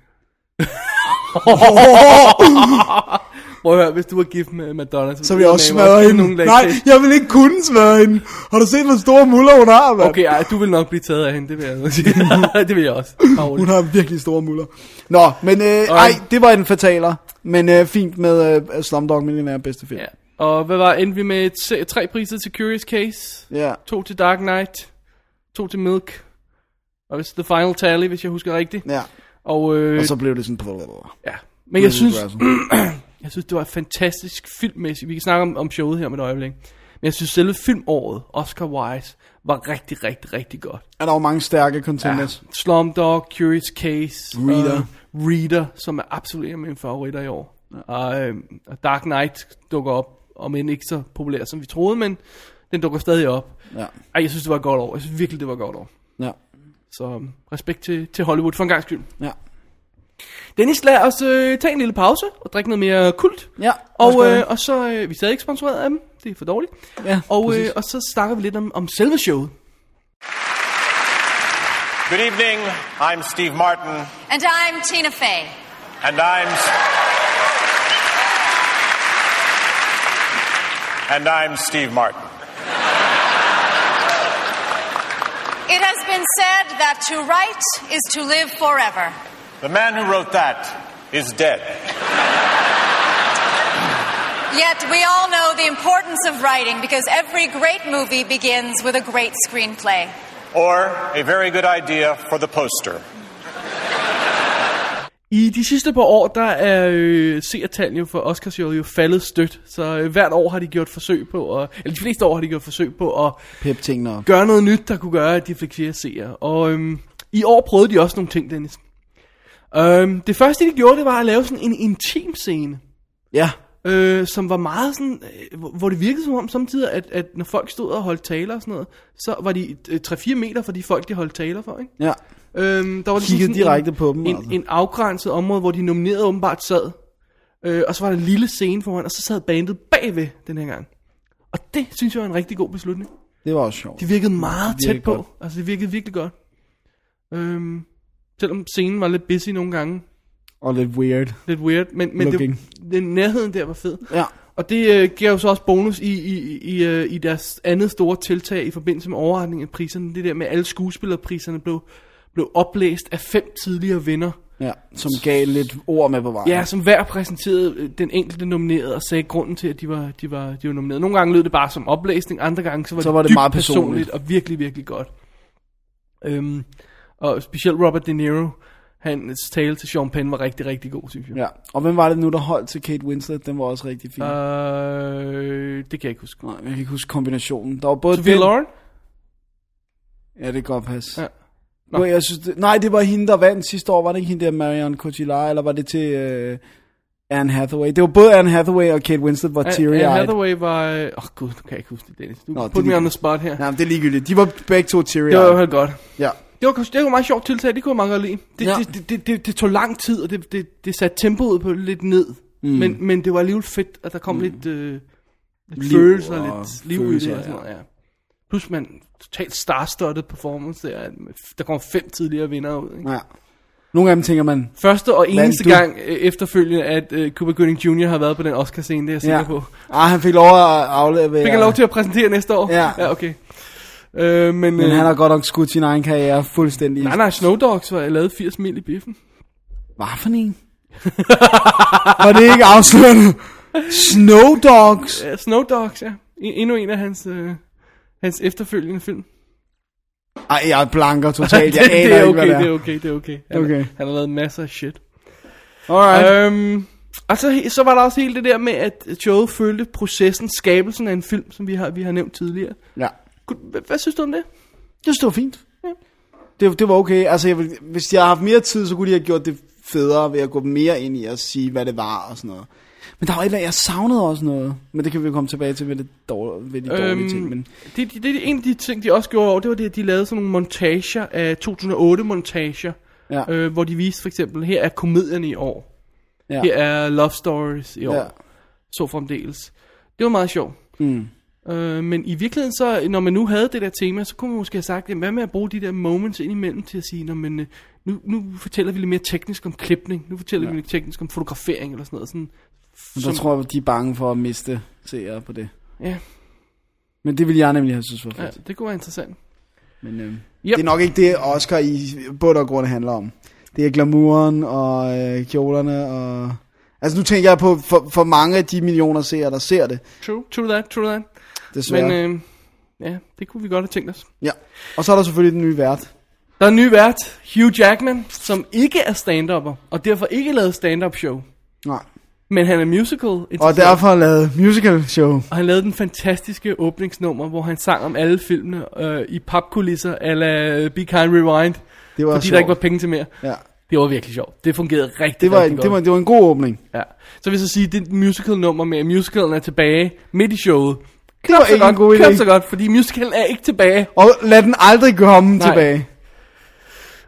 Speaker 1: Prøv at høre, hvis du var gift med Madonna,
Speaker 2: Så vil jeg også smadre
Speaker 1: give
Speaker 2: hende.
Speaker 1: Nogle lag
Speaker 2: Nej,
Speaker 1: sex.
Speaker 2: jeg vil ikke kunne smadre hende. Har du set, hvor store muller hun har, mand?
Speaker 1: Okay, ej, du vil nok blive taget af hende, det vil jeg sige. <laughs> det vil jeg også. Bare rolig.
Speaker 2: Hun har virkelig store muller. Nå, men øh,
Speaker 1: Og-
Speaker 2: ej, det var en fataler. Men øh, fint med øh, Slumdog Millionaire bedste film.
Speaker 1: Ja. Og hvad var, endte vi med et, se- tre priser til Curious Case,
Speaker 2: Ja.
Speaker 1: to til Dark Knight, to til Milk, og hvis The Final Tally, hvis jeg husker rigtigt.
Speaker 2: ja.
Speaker 1: Og, øh,
Speaker 2: Og så blev det sådan... blablabla.
Speaker 1: ja. Men jeg synes,
Speaker 2: Russell.
Speaker 1: jeg synes, det var fantastisk filmmæssigt. Vi kan snakke om, om showet her om et øjeblik. Men jeg synes, selve filmåret, Oscar-wise, var rigtig, rigtig, rigtig godt.
Speaker 2: Er der jo mange stærke contenders? Ja.
Speaker 1: Slumdog, Curious Case,
Speaker 2: Reader.
Speaker 1: øh, Reader, som er absolut en af mine favoritter i år. Og, øh, og Dark Knight dukker op, om end ikke så populær som vi troede, men den dukker stadig op.
Speaker 2: Ja.
Speaker 1: Ej, jeg synes, det var et godt år. Jeg synes virkelig, det var et godt år.
Speaker 2: Ja.
Speaker 1: Så øh, respekt til, til Hollywood for en gang skyld.
Speaker 2: Ja.
Speaker 1: Dennis, lad os øh, tage en lille pause og drikke noget mere kult.
Speaker 2: Ja, lad os
Speaker 1: og,
Speaker 2: gøre det.
Speaker 1: øh, og så, øh, vi er stadig ikke sponsoreret af dem, det er for dårligt.
Speaker 2: Ja,
Speaker 1: og, øh,
Speaker 2: præcis.
Speaker 1: og så snakker vi lidt om, om selve showet.
Speaker 8: Good evening. I'm Steve Martin,
Speaker 5: And I'm Tina Fey.
Speaker 8: and I'm. And I'm Steve Martin.
Speaker 5: It has been said that to write is to live forever.
Speaker 8: The man who wrote that is dead.
Speaker 5: Yet we all know the importance of writing because every great movie begins with a great screenplay.
Speaker 8: Or a very good idea for the poster.
Speaker 1: I de sidste par år, der er øh, seertallene jo for Oscarshowet jo faldet stødt, så øh, hvert år har de gjort forsøg på, at, eller de fleste år har de gjort forsøg på at
Speaker 2: Pep tingene op.
Speaker 1: gøre noget nyt, der kunne gøre, at de fik flere seere. Og øhm, i år prøvede de også nogle ting, Dennis. Øhm, det første, de gjorde, det var at lave sådan en intim scene,
Speaker 2: Ja.
Speaker 1: øh, som var meget sådan, øh, hvor- hvor det virkede som om samtidig, at, at når folk stod og holdt taler og sådan noget, så var de øh, 3-4 meter fra de folk, de holdt taler for, ikke?
Speaker 2: Ja.
Speaker 1: Øhm, der var ligesom
Speaker 2: Kiggede
Speaker 1: sådan
Speaker 2: direkte
Speaker 1: en,
Speaker 2: på dem,
Speaker 1: En,
Speaker 2: altså.
Speaker 1: en afgrænset område, hvor de nominerede åbenbart sad. Øh, og så var der en lille scene foran, og så sad bandet bagved den her gang. Og det synes jeg var en rigtig god beslutning.
Speaker 2: Det var også sjovt.
Speaker 1: Det virkede meget
Speaker 2: Det virkede
Speaker 1: tæt på.
Speaker 2: godt.
Speaker 1: Altså, det virkede virkelig godt. Øhm, selvom scenen var lidt busy nogle gange.
Speaker 2: Og lidt weird.
Speaker 1: Lidt weird. Men, men det,
Speaker 2: Looking.
Speaker 1: den nærheden der var fed.
Speaker 2: Ja.
Speaker 1: Og det øh, gav jo så også bonus i, i, i, øh, i deres andet store tiltag i forbindelse med overretningen af priserne. Det der med, at alle skuespillerpriserne blev, blev oplæst af fem tidligere vinder.
Speaker 2: Ja. Som gav lidt ord med på vejen.
Speaker 1: Ja, som hver præsenterede øh, den enkelte nominerede og sagde grunden til, at de var, de var, de var nomineret. Nogle gange lød det bare som oplæsning, andre gange så var
Speaker 2: Så
Speaker 1: det,
Speaker 2: var det
Speaker 1: dybt
Speaker 2: meget personligt.
Speaker 1: personligt og virkelig, virkelig godt. Øhm, og specielt Robert De Niro, hans tale til Sean Penn var rigtig, rigtig god, synes jeg.
Speaker 2: ja. Og hvem var det nu, der holdt til Kate Winslet? Den var også rigtig fin. Uh.
Speaker 1: Øh, det kan jeg ikke huske.
Speaker 2: Nej, jeg kan ikke huske kombinationen. Der var både
Speaker 1: Sophie
Speaker 2: den-
Speaker 1: Lauren?
Speaker 2: Ja, det kan godt passe.
Speaker 1: Ja.
Speaker 2: Ja.
Speaker 1: Nå.
Speaker 2: Nå. Jeg synes, det, nej, det var hende, der vandt sidste år. Var det ikke hende der, Marion Cotillard, eller var det til øh, Anne Hathaway? Det var både Anne Hathaway og Kate Winslet var
Speaker 1: Anne
Speaker 2: teary-eyed.
Speaker 1: Hathaway var... øh, Åh oh, gud, nu kan jeg ikke huske det, Dennis. Du
Speaker 2: Nå,
Speaker 1: Nå,
Speaker 2: det
Speaker 1: put
Speaker 2: er
Speaker 1: me on
Speaker 2: lige-
Speaker 1: the spot her.
Speaker 2: Nej, men det er ligegyldigt. De var begge to
Speaker 1: Det var i hvert
Speaker 2: teary-eyed.
Speaker 1: fald godt.
Speaker 2: Ja.
Speaker 1: Det var, det var et meget sjovt tiltag, det kunne jeg meget godt lide. Det, ja.
Speaker 2: Ja.
Speaker 1: det, det, det, det, det tog lang tid, og det, det, det satte tempoet på lidt ned. Mm. Men, men det var alligevel fedt, at der kom mm. lidt, øh, lidt
Speaker 2: Liv
Speaker 1: følelser,
Speaker 2: og
Speaker 1: lidt liv i
Speaker 2: følelser,
Speaker 1: det. Og sådan noget, ja. Plus man totalt starstudded performance der. at Der kom fem tidligere vinder ud. Ikke?
Speaker 2: ja. Nogle af dem tænker man,
Speaker 1: Første og eneste
Speaker 2: du?
Speaker 1: gang øh, efterfølgende, at øh, Cuba Gooding Jr. har været på den Oscar-scene, det er jeg sikker
Speaker 2: ja.
Speaker 1: på.
Speaker 2: Ah, han fik lov at aflevere.
Speaker 1: Fik han lov til at præsentere næste år?
Speaker 2: Ja.
Speaker 1: ja okay. Øh, men,
Speaker 2: Men
Speaker 1: øh, ah,
Speaker 2: han har godt nok skudt sin egen karriere fuldstændig.
Speaker 1: Nej, nej, Snow Dogs var lavet 80 mil i biffen.
Speaker 2: Hvad for en? <laughs> var det ikke
Speaker 1: <laughs>
Speaker 2: afslørende? Snow Dogs.
Speaker 1: Ja, Snow Dogs, ja. En- Endnu en af hans, øh, hans efterfølgende film.
Speaker 2: Ej, jeg blanker totalt.
Speaker 1: <laughs>
Speaker 2: Jeg
Speaker 1: det,
Speaker 2: aner
Speaker 1: det, er
Speaker 2: ikke,
Speaker 1: okay,
Speaker 2: hvad
Speaker 1: det er
Speaker 2: det er.
Speaker 1: okay, det er okay. Han,
Speaker 2: Okay.
Speaker 1: han har lavet masser af shit.
Speaker 2: Alright.
Speaker 1: Øhm, og så, he- så var der også hele det der med, at showet følte processen, skabelsen af en film, som vi har, vi har nævnt tidligere.
Speaker 2: Ja.
Speaker 1: Kunne- Hvad, hvad synes du om det?
Speaker 2: Jeg synes, det var fint. Det, det var okay. Altså, jeg vil, hvis jeg havde haft mere tid, så kunne de have gjort det federe ved at gå mere ind i og sige, hvad det var og sådan noget. Men der var et eller andet, jeg savnede også noget. Men det kan vi jo komme tilbage til ved, det dårlige, ved de dårlige
Speaker 1: Øhm,
Speaker 2: ting. Men
Speaker 1: det, det, det, er en af de ting, de også gjorde over, det var det, at de lavede sådan nogle montager af 2008-montager,
Speaker 2: ja,
Speaker 1: øh, hvor de viste for eksempel, her er komedierne i år,
Speaker 2: ja,
Speaker 1: her er love stories i år.
Speaker 2: ja.
Speaker 1: så fremdeles. Det var meget sjovt. Mm. Øh, men i virkeligheden så, når man nu havde det der tema, så kunne man måske have sagt, jamen, hvad med at bruge de der moments indimellem til at sige, når man, nu, nu fortæller vi lidt mere teknisk om klipning, nu fortæller ja. vi lidt teknisk om fotografering eller sådan noget. Sådan,
Speaker 2: Men der tror jeg, de er bange for at miste seere på det.
Speaker 1: ja,
Speaker 2: Men det ville jeg nemlig have synes var
Speaker 1: ja,
Speaker 2: fedt.
Speaker 1: det kunne være interessant.
Speaker 2: Men øhm,
Speaker 1: Yep.
Speaker 2: det er nok ikke det, Oscar i bund og grund handler om. Det er glamouren og øh, kjolerne og... Altså nu tænker jeg på, for, for mange af de millioner seere, der ser det,
Speaker 1: True, true that, true that.
Speaker 2: desværre.
Speaker 1: Men
Speaker 2: Men, øh...
Speaker 1: øh, ja, det kunne vi godt have tænkt os.
Speaker 2: ja. Og så er der selvfølgelig den nye vært.
Speaker 1: Der er en ny vært, Hugh Jackman, som ikke er stand-upper, og derfor ikke lavede stand-up show.
Speaker 2: Nej.
Speaker 1: Men han er musical.
Speaker 2: Og derfor lavet musical show.
Speaker 1: Og han lavede den fantastiske åbningsnummer, hvor han sang om alle filmene øh, i papkulisser, ala Be Kind Rewind,
Speaker 2: Det var
Speaker 1: fordi
Speaker 2: sjovt.
Speaker 1: der ikke var penge til mere.
Speaker 2: Ja.
Speaker 1: Det var virkelig sjovt. Det fungerede rigtig,
Speaker 2: Det var,
Speaker 1: rigtig
Speaker 2: en,
Speaker 1: godt.
Speaker 2: det, var, det var en god åbning.
Speaker 1: Ja. Så vil jeg så sige, det musical nummer med, at musicalen er tilbage midt i showet. Knap
Speaker 2: var
Speaker 1: så
Speaker 2: ikke en
Speaker 1: godt,
Speaker 2: god idé.
Speaker 1: knap så godt, fordi musicalen er ikke tilbage.
Speaker 2: Og lad den aldrig komme Nej. tilbage.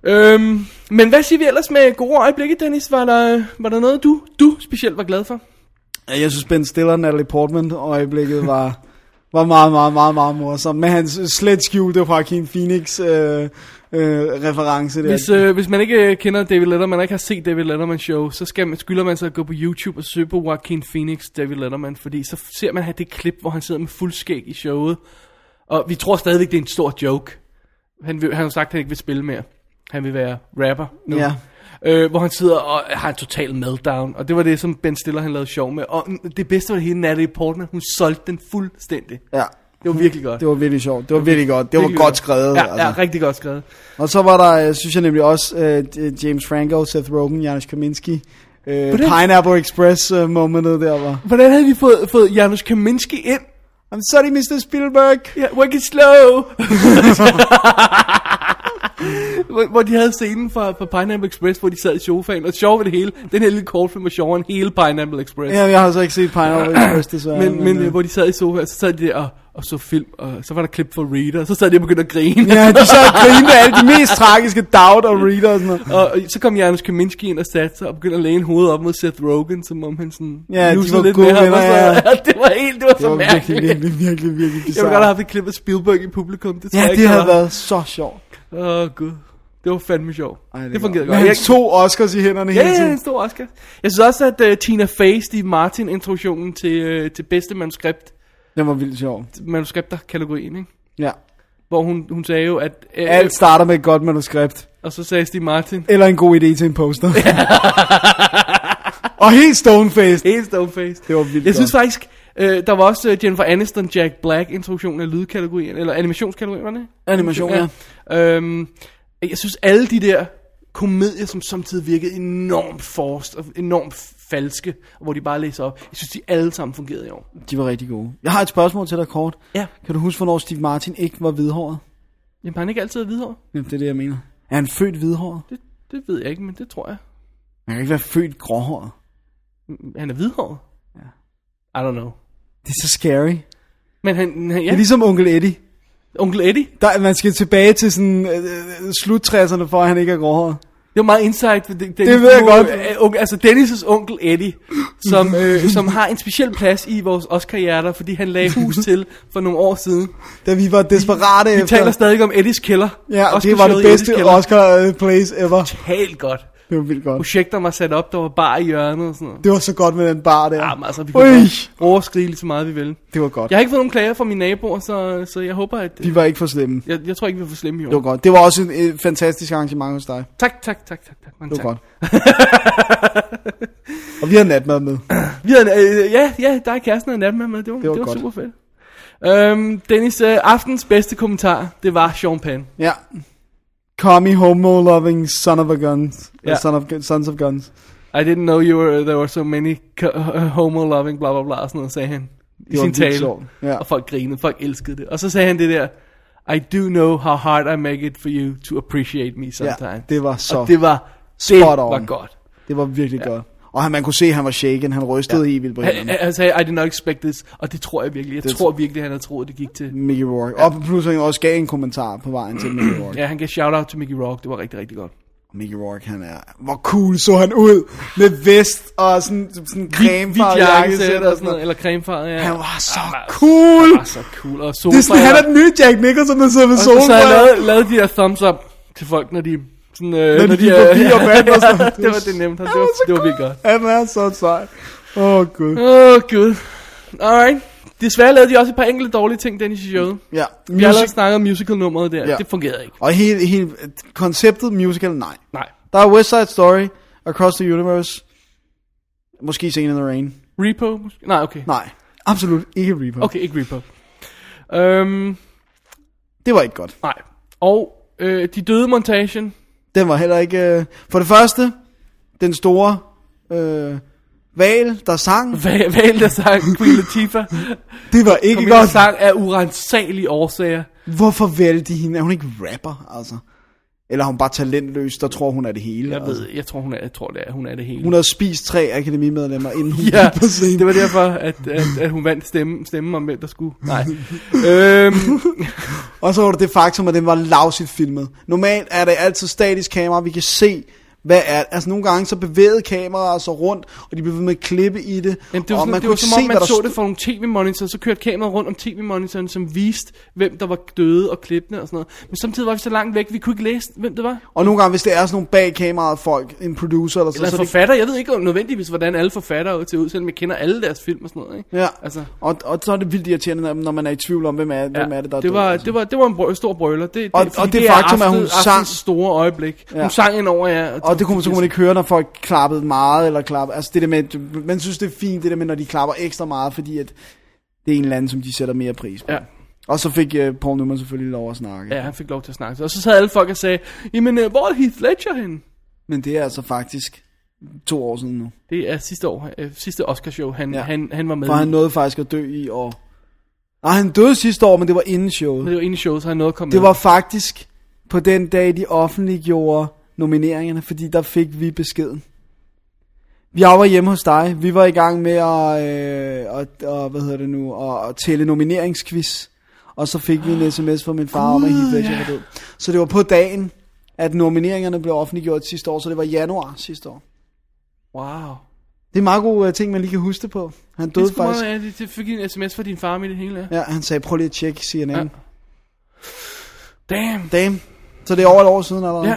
Speaker 1: Øhm, men hvad siger vi ellers med gode øjeblikke, Dennis? Var der, var der noget, du, du specielt var glad for?
Speaker 2: Ja, Jeg synes, Ben Stiller og Natalie Portman øjeblikket <laughs> var, var meget, meget, meget, meget morsom. Med hans slet skjulte Joaquin Phoenix øh, øh, reference der.
Speaker 1: Hvis, øh, hvis man ikke øh, kender David Letterman, og ikke har set David Letterman show, så skal man, skylder man sig at gå på YouTube og søge på Joaquin Phoenix David Letterman, fordi så ser man her det klip, hvor han sidder med fuld skæg i showet. Og vi tror stadigvæk, det er en stor joke. Han, vil, han har sagt, at han ikke vil spille mere. Han vil være rapper nu.
Speaker 2: Ja.
Speaker 1: Øh, hvor han sidder og har en total meltdown. Og det var det, som Ben Stiller han lavede sjov med. Og mm, det bedste var det hele, Natalie Portman, hun solgte den fuldstændig.
Speaker 2: Ja,
Speaker 1: Det var virkelig godt.
Speaker 2: det var virkelig sjovt. Det var virkelig godt. Det var
Speaker 1: Virkelig
Speaker 2: godt skrevet.
Speaker 1: Ja,
Speaker 2: altså.
Speaker 1: ja, rigtig godt skrevet.
Speaker 2: Og så var der, øh, synes jeg nemlig også, øh, d- James Franco, Seth Rogen, Janusz Kaminski. Øh,
Speaker 1: Hvordan-
Speaker 2: Pineapple Express øh, momentet der var.
Speaker 1: Hvordan havde vi fået, fået Janusz Kaminski ind
Speaker 2: I'm sorry, Mr. Spielberg.
Speaker 1: Ja, work it
Speaker 2: <laughs>
Speaker 1: slow. hvor, hvor de havde scenen fra, fra Pineapple Express, hvor de sad i sofaen, og sjov ved det hele, den her lille kortfilm var sjovere end hele Pineapple Express.
Speaker 2: Ja, jeg har så ikke set Pineapple Express desværre.
Speaker 1: men, men, men
Speaker 2: øh,
Speaker 1: hvor de sad i sofaen, så sad de der og, og så film, og så var der klip for Reader, og så sad de og begyndte at grine.
Speaker 2: Ja, de så grinte af alle de mest tragiske Doubt og Reader og sådan noget.
Speaker 1: <laughs> og, og så kom Janusz Kaminski ind og satte sig og begyndte at læne hovedet op mod Seth Rogen, som om han sådan
Speaker 2: Ja, de
Speaker 1: nussede
Speaker 2: var
Speaker 1: lidt
Speaker 2: gode
Speaker 1: med ham. Og
Speaker 2: venner,
Speaker 1: så, <laughs>
Speaker 2: ja.
Speaker 1: det var helt, det var
Speaker 2: Det
Speaker 1: så
Speaker 2: var virkelig,
Speaker 1: mærkeligt.
Speaker 2: virkelig, virkelig, virkelig
Speaker 1: Jeg ville godt
Speaker 2: bizarre.
Speaker 1: have haft et klip af Spielberg i publikum. Det tror
Speaker 2: Ja,
Speaker 1: jeg ikke,
Speaker 2: det
Speaker 1: der
Speaker 2: havde
Speaker 1: var.
Speaker 2: været så sjovt.
Speaker 1: Åh, oh, gud. Det var fandme sjovt. Ej, det, det fungerede
Speaker 2: Men
Speaker 1: godt. Jeg,
Speaker 2: han to Oscars i hænderne
Speaker 1: ja,
Speaker 2: hele
Speaker 1: ja, en
Speaker 2: tiden.
Speaker 1: stor Oscar. Jeg synes også, at uh, Tina Fey, Steve Martin introduktionen til, uh, til bedste manuskript,
Speaker 2: Den var vildt sjov.
Speaker 1: manuskripter-kategorien, ikke?
Speaker 2: Ja.
Speaker 1: Hvor hun, hun sagde jo, at... Uh,
Speaker 2: Alt starter med et godt manuskript.
Speaker 1: Og så sagde Steve Martin...
Speaker 2: Eller en god idé til en <laughs> poster. og <laughs> helt stone-faced.
Speaker 1: Helt stone-faced.
Speaker 2: Det var vildt
Speaker 1: Jeg synes
Speaker 2: godt.
Speaker 1: faktisk... Uh, der var også uh, Jennifer Aniston, Jack Black introduktionen af lydkategorien, eller animationskategorien, var det?
Speaker 2: Animation, ja.
Speaker 1: Øhm, jeg synes, alle de der komedier, som samtidig virkede enormt forst og enormt falske, hvor de bare læser op, jeg synes, de alle sammen fungerede i år.
Speaker 2: De var rigtig gode. Jeg har et spørgsmål til dig kort.
Speaker 1: Ja.
Speaker 2: Kan du huske, hvornår Steve Martin ikke var hvidhåret?
Speaker 1: Jamen, har han ikke altid videre.
Speaker 2: Jamen, det er det, jeg mener. Er han født hvidhåret?
Speaker 1: Det, det ved jeg ikke, men det tror jeg.
Speaker 2: Han kan ikke være født gråhåret.
Speaker 1: Mm, Han er hvidhåret. Ja. I don't know.
Speaker 2: Det er så scary.
Speaker 1: Men han, han ja,
Speaker 2: Det er ligesom onkel Eddie.
Speaker 1: onkel Eddie,
Speaker 2: Der, man skal tilbage til sådan øh, øh, slut-60'erne, for at han ikke er gråhåret.
Speaker 1: det var meget insight. Det, det,
Speaker 2: Det ved jeg
Speaker 1: nu,
Speaker 2: godt.
Speaker 1: øh, onkel- altså Dennis' onkel Eddie,
Speaker 2: <clears throat>
Speaker 1: som, øh, som har en speciel plads i vores Oscar-hjerter, fordi han lagde
Speaker 2: <laughs>
Speaker 1: hus til for nogle år siden.
Speaker 2: Da vi var desperate
Speaker 1: Vi
Speaker 2: efter...
Speaker 1: taler stadig om Eddies kælder.
Speaker 2: Ja, det var
Speaker 1: Oscarshowet
Speaker 2: det
Speaker 1: i Eddies
Speaker 2: bedste
Speaker 1: kælder.
Speaker 2: Oscar-place ever.
Speaker 1: Helt godt.
Speaker 2: Det var vildt godt.
Speaker 1: Projekter var sat op, der var bar i hjørnet og sådan noget.
Speaker 2: Det var så godt med den bar der.
Speaker 1: Jamen, altså, vi kunne
Speaker 2: Øj,
Speaker 1: bare råbe og skrige lige så meget, vi vil.
Speaker 2: det var godt.
Speaker 1: Jeg har ikke fået nogen klager fra mine naboer, så, så jeg håber, at...
Speaker 2: Vi var ikke for slemme.
Speaker 1: Jeg, jeg tror ikke, vi får slemme i år.
Speaker 2: Det var godt. Det var også et, et fantastisk arrangement hos dig.
Speaker 1: Tak, tak, tak, tak, tak. Mange
Speaker 2: Det var
Speaker 1: tak.
Speaker 2: godt. Og vi har natmad med.
Speaker 1: Vi havde, en- øh, ja, ja, der er kæresten og natmad med. Det var, det
Speaker 2: var
Speaker 1: var, det var
Speaker 2: godt.
Speaker 1: super fedt. Øhm, Dennis, øh, aftens bedste kommentar, det var Sean Penn.
Speaker 2: Ja. Commie homo-loving oh son of a guns.
Speaker 1: Ja.
Speaker 2: Ja. Son of, gu- sons of guns.
Speaker 1: I didn't know you were, there were so many co- <laughs> homo-loving, bla bla bla, og sådan noget, sagde han. I
Speaker 2: var
Speaker 1: sin
Speaker 2: vildt
Speaker 1: tale.
Speaker 2: sjovt, ja.
Speaker 1: Og folk grinede, folk elskede det. Og så sagde han det der, I do know how hard I make it for you to appreciate me sometimes.
Speaker 2: det var så
Speaker 1: Og det var, det
Speaker 2: spot on.
Speaker 1: var godt.
Speaker 2: Det var virkelig ja. godt. Og han, man kunne se, at han var shaken. Han rystede ja. helt vildt på
Speaker 1: Han,
Speaker 2: hænderne.
Speaker 1: han sagde, I did not expect this, og det tror jeg virkelig. Jeg det tror virkelig, han havde troet, det gik til.
Speaker 2: Mickey Rourke. Og pludselig også gav en kommentar på vejen til Mickey Rourke.
Speaker 1: Ja, han gav shout-out til Mickey Rock, det var rigtig, rigtig godt.
Speaker 2: Mickey Rourke, han er... Hvor cool så han ud med vest og sådan, sådan cremefarvet jakkesæt og sådan noget.
Speaker 1: Eller cremefarvet, ja.
Speaker 2: Han var så
Speaker 1: Han var-
Speaker 2: cool!
Speaker 1: Han var så cool. Og sofa,
Speaker 2: Det er sådan, han er den nye Jack Nicholson, der sidder ved
Speaker 1: Og så, så
Speaker 2: sofaen.
Speaker 1: har jeg lavet, lavet de her thumbs up til folk, når de... Sådan, øh,
Speaker 2: Når de gik forbi og vandt og sådan.
Speaker 1: <laughs> det var det nemt. Det
Speaker 2: Han
Speaker 1: var,
Speaker 2: var så
Speaker 1: det var virkelig godt.
Speaker 2: Han er så sej. Åh, oh, gud.
Speaker 1: Åh, oh, gud. Alright. Desværre lavede de også et par enkelte dårlige ting, Dennis i showet.
Speaker 2: Ja.
Speaker 1: Vi har allerede
Speaker 2: Music-
Speaker 1: snakket om musicalnummeret der.
Speaker 2: Ja.
Speaker 1: Det fungerede ikke.
Speaker 2: og hele, hele konceptet musical, nej.
Speaker 1: Nej.
Speaker 2: Der er West Side Story, Across the Universe, måske Singing in the Rain.
Speaker 1: Repo? måske? Nej, okay.
Speaker 2: Nej, absolut ikke Reaper.
Speaker 1: Okay, ikke Repo. Øhm,
Speaker 2: Det var ikke godt.
Speaker 1: nej. Og øh, de døde montagen. <laughs>
Speaker 2: Den var heller ikke... Øh... For det første, den store øh, val, der sang.
Speaker 1: Hva- Val, der sang Queen Latifah.
Speaker 2: Det var ikke
Speaker 1: Kom
Speaker 2: godt.
Speaker 1: godt. sang af urensagelige årsager.
Speaker 2: Hvorfor valgte de hende? Er hun ikke rapper, altså? Eller er hun bare talentløs, der tror hun er det hele?
Speaker 1: Jeg
Speaker 2: altså?
Speaker 1: ved, jeg tror, hun er, jeg tror det er, hun er det hele.
Speaker 2: Hun har spist tre akademimedlemmer, inden
Speaker 1: <laughs>
Speaker 2: hun
Speaker 1: Ja,
Speaker 2: gik på scenen.
Speaker 1: det var derfor, at, at, at hun vandt stemme, stemme om, hvem der skulle. Nej. øhm,
Speaker 2: Og så var det det faktum, at den var lavsigt filmet. Normalt er det altid statisk kamera, vi kan se, hvad er Altså nogle gange så bevægede kameraer sig rundt, og de blev ved med at klippe i det.
Speaker 1: Jamen, det var,
Speaker 2: og
Speaker 1: sådan, det var som om, man så
Speaker 2: stod-
Speaker 1: det fra nogle tv-monitorer, så kørte kameraet rundt om tv-monitoren, som viste, hvem der var døde og klippene og sådan noget. Men samtidig var vi så langt væk, vi kunne ikke læse, hvem det var.
Speaker 2: Og nogle gange, hvis det er sådan nogle bag kameraet folk, en producer eller,
Speaker 1: Eller
Speaker 2: så, så er det,
Speaker 1: forfatter, jeg ved ikke om nødvendigvis, hvordan alle forfattere ser ud, selvom jeg kender alle deres film og sådan noget. Ikke?
Speaker 2: ja.
Speaker 1: Altså,
Speaker 2: altså. og, og så er det vildt irriterende, når- når man er i tvivl om, hvem er, ja, hvem er det, der er
Speaker 1: det,
Speaker 2: død,
Speaker 1: var,
Speaker 2: altså.
Speaker 1: det, var, det var en brø- stor brøler. Det, det,
Speaker 2: Og-
Speaker 1: fordi
Speaker 2: og det
Speaker 1: er
Speaker 2: faktum, at hun
Speaker 1: aften-
Speaker 2: sang-
Speaker 1: aftens store øjeblik. Ja.
Speaker 2: Ja.
Speaker 1: Hun sang ind over jer.
Speaker 2: Og det kunne, så kunne man ikke høre, når folk klappede meget, eller klappede, altså det der med, at- man synes det er fint, det der med, når de klapper ekstra meget, fordi at det er en eller anden, som de sætter mere pris på.
Speaker 1: Ja.
Speaker 2: Og så fik uh, Paul Newman selvfølgelig lov at snakke.
Speaker 1: Ja, han fik lov til at snakke. Og så sad alle folk og sagde, jamen, øh, hvor er Heath Ledger henne?
Speaker 2: Men det er altså faktisk to år siden nu.
Speaker 1: Det er sidste år, øh, sidste Oscarshow, han, ja.
Speaker 2: Ja.
Speaker 1: han, han var med
Speaker 2: For
Speaker 1: i.
Speaker 2: han nåede faktisk at dø i år. Nej, han døde sidste år, men det var inden
Speaker 1: Men det
Speaker 2: showet.
Speaker 1: var inde i showet, så han nåede at komme
Speaker 2: Det
Speaker 1: med.
Speaker 2: var faktisk på den dag, de offentliggjorde nomineringerne, fordi der fik vi beskeden. Jeg var hjemme hos dig. Vi var i gang med at, øh, at, og, hvad hedder det nu, at, at tælle nomineringsquiz. Og så fik vi en sms fra min far om, at Heath Ledger var død. Så det var på dagen, at nomineringerne blev offentliggjort sidste år, så det var januar sidste år.
Speaker 1: Wow.
Speaker 2: Det er en meget god uh, ting, man lige kan huske det på. Han
Speaker 1: Det,
Speaker 2: døde
Speaker 1: det,
Speaker 2: faktisk.
Speaker 1: faktisk... meget, ja, det, det fik en sms fra din far med det hele. Ja.
Speaker 2: Ja, han sagde, prøv lige at tjekke CNN.
Speaker 1: Ja.
Speaker 2: Ja.
Speaker 1: Damn.
Speaker 2: Damn. Så det er over et år siden allerede.
Speaker 1: Ja.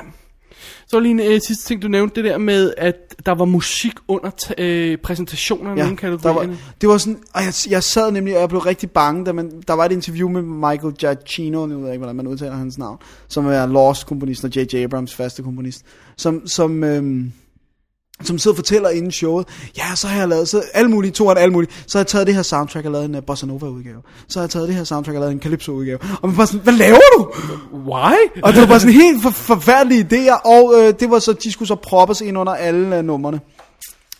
Speaker 1: Så lige en øh, sidste ting, du nævnte, det der med, at der var musik under t- øh, præsentationerne, ja, nogle
Speaker 2: der var,
Speaker 1: kategorierne.
Speaker 2: det var sådan, og jeg, jeg sad nemlig, og jeg blev rigtig bange, da man, der var et interview med Michael Giacchino, nu ved jeg ikke, hvordan man udtaler hans navn, som er Lost-komponisten og J.J. Abrams faste komponist, som, som, øhm, som sidder og fortæller inden showet, ja, så har jeg lavet så alle mulige, to og alle mulige, så har jeg taget det her soundtrack og lavet en uh, Bossa Nova-udgave, så har jeg taget det her soundtrack og lavet en Calypso-udgave, og man var sådan, hvad laver du?
Speaker 1: Why?
Speaker 2: Og det var bare sådan helt for, forfærdelige idéer, og øh, det var så, de skulle så proppes ind under alle øh, numrene.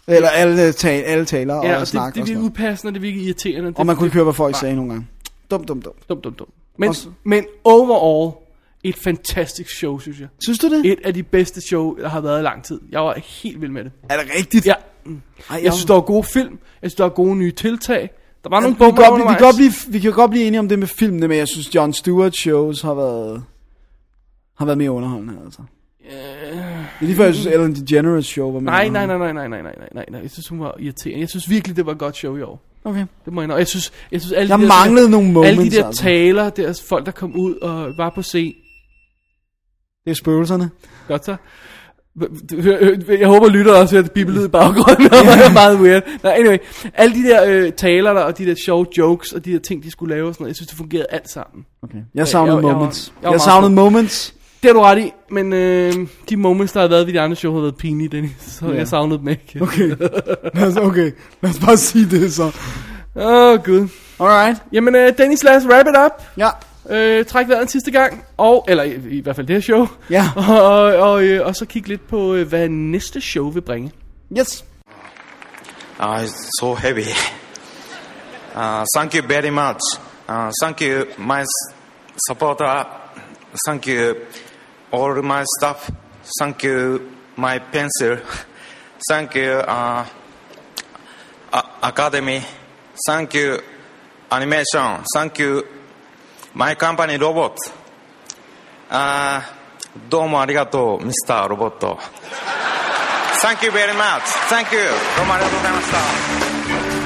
Speaker 2: Eller alle, øh, tal, alle taler
Speaker 1: Ja,
Speaker 2: og,
Speaker 1: og det,
Speaker 2: snak
Speaker 1: det
Speaker 2: og sådan
Speaker 1: virkede
Speaker 2: noget.
Speaker 1: upassende, det virkede irriterende. Det,
Speaker 2: Og man kunne
Speaker 1: det,
Speaker 2: ikke høre, hvad folk sagde nogle gange. Dum, dum, dum.
Speaker 1: Dum, dum, dum. Men,
Speaker 2: Også-
Speaker 1: men overall, et fantastisk show, synes jeg.
Speaker 2: Synes du det?
Speaker 1: Et af de bedste show, der har været i lang tid. Jeg var helt vild med det.
Speaker 2: Er det rigtigt?
Speaker 1: Ja.
Speaker 2: Ej,
Speaker 1: Jeg synes, der var gode film. Jeg synes, der var gode nye tiltag. Der var nogle
Speaker 2: vi, kan
Speaker 1: bomber
Speaker 2: godt, blive- vi, kan
Speaker 1: undervejs.
Speaker 2: godt blive, vi kan godt blive enige om det med filmene, men jeg synes, John Stewart shows har været, har været mere underholdende, altså. Det er lige før, jeg synes, Ellen DeGeneres show var mere
Speaker 1: Øh. Nej, nej, nej, nej, nej, nej, nej, nej, nej, nej. Jeg synes, hun var irriterende. Jeg synes virkelig, det var et godt show i år.
Speaker 2: Okay.
Speaker 1: Det må jeg nok. Jeg synes, jeg synes alle
Speaker 2: Der
Speaker 1: de der,
Speaker 2: manglede nogle
Speaker 1: alle de
Speaker 2: moments,
Speaker 1: der
Speaker 2: altså.
Speaker 1: taler, der folk, der kom ud og var på scenen.
Speaker 2: Det er spøgelserne.
Speaker 1: Godt så. Hør- hør- Jeg håber, lytter også hørte bibelyd i baggrunden, <laughs> og det var meget weird. Nå, anyway. Alle de der øh, taler der, og de der sjove jokes, og de der ting, de skulle lave og sådan noget, jeg synes, det fungerede alt sammen.
Speaker 2: Okay. Jeg savnede
Speaker 1: jeg var-
Speaker 2: moments.
Speaker 1: jeg var
Speaker 2: Jeg,
Speaker 1: meget
Speaker 2: savnede moments.
Speaker 1: Det har du ret i, men øh, de moments, der har været ved de andre show, har været pinlige, Dennis, så yeah. jeg savnede dem ikke. Åh,
Speaker 2: Okay. Lad os, okay. Lad os bare sige det så.
Speaker 1: okay. oh, gud.
Speaker 2: Alright.
Speaker 1: Jamen, øh, Dennis, lad os wrap it up.
Speaker 2: Ja.
Speaker 1: øh, træk vejret en sidste gang, og, eller i, i hvert fald det her show,
Speaker 2: Ja.
Speaker 1: og, <laughs> og, og, øh, og så kigge lidt på, øh, hvad næste show vil bringe.
Speaker 2: Yes.
Speaker 9: Uh, it's so heavy. Uh, thank you very much. Uh, thank you, my s- supporter. Thank you, all my staff. Thank you, my pencil. Thank you, uh, a- Academy. Thank you, animation. Thank you, my company, robot. Uh, どうもありがとう、ミスターロボット。Thank you very much. Thank you. どうもありがとうございました。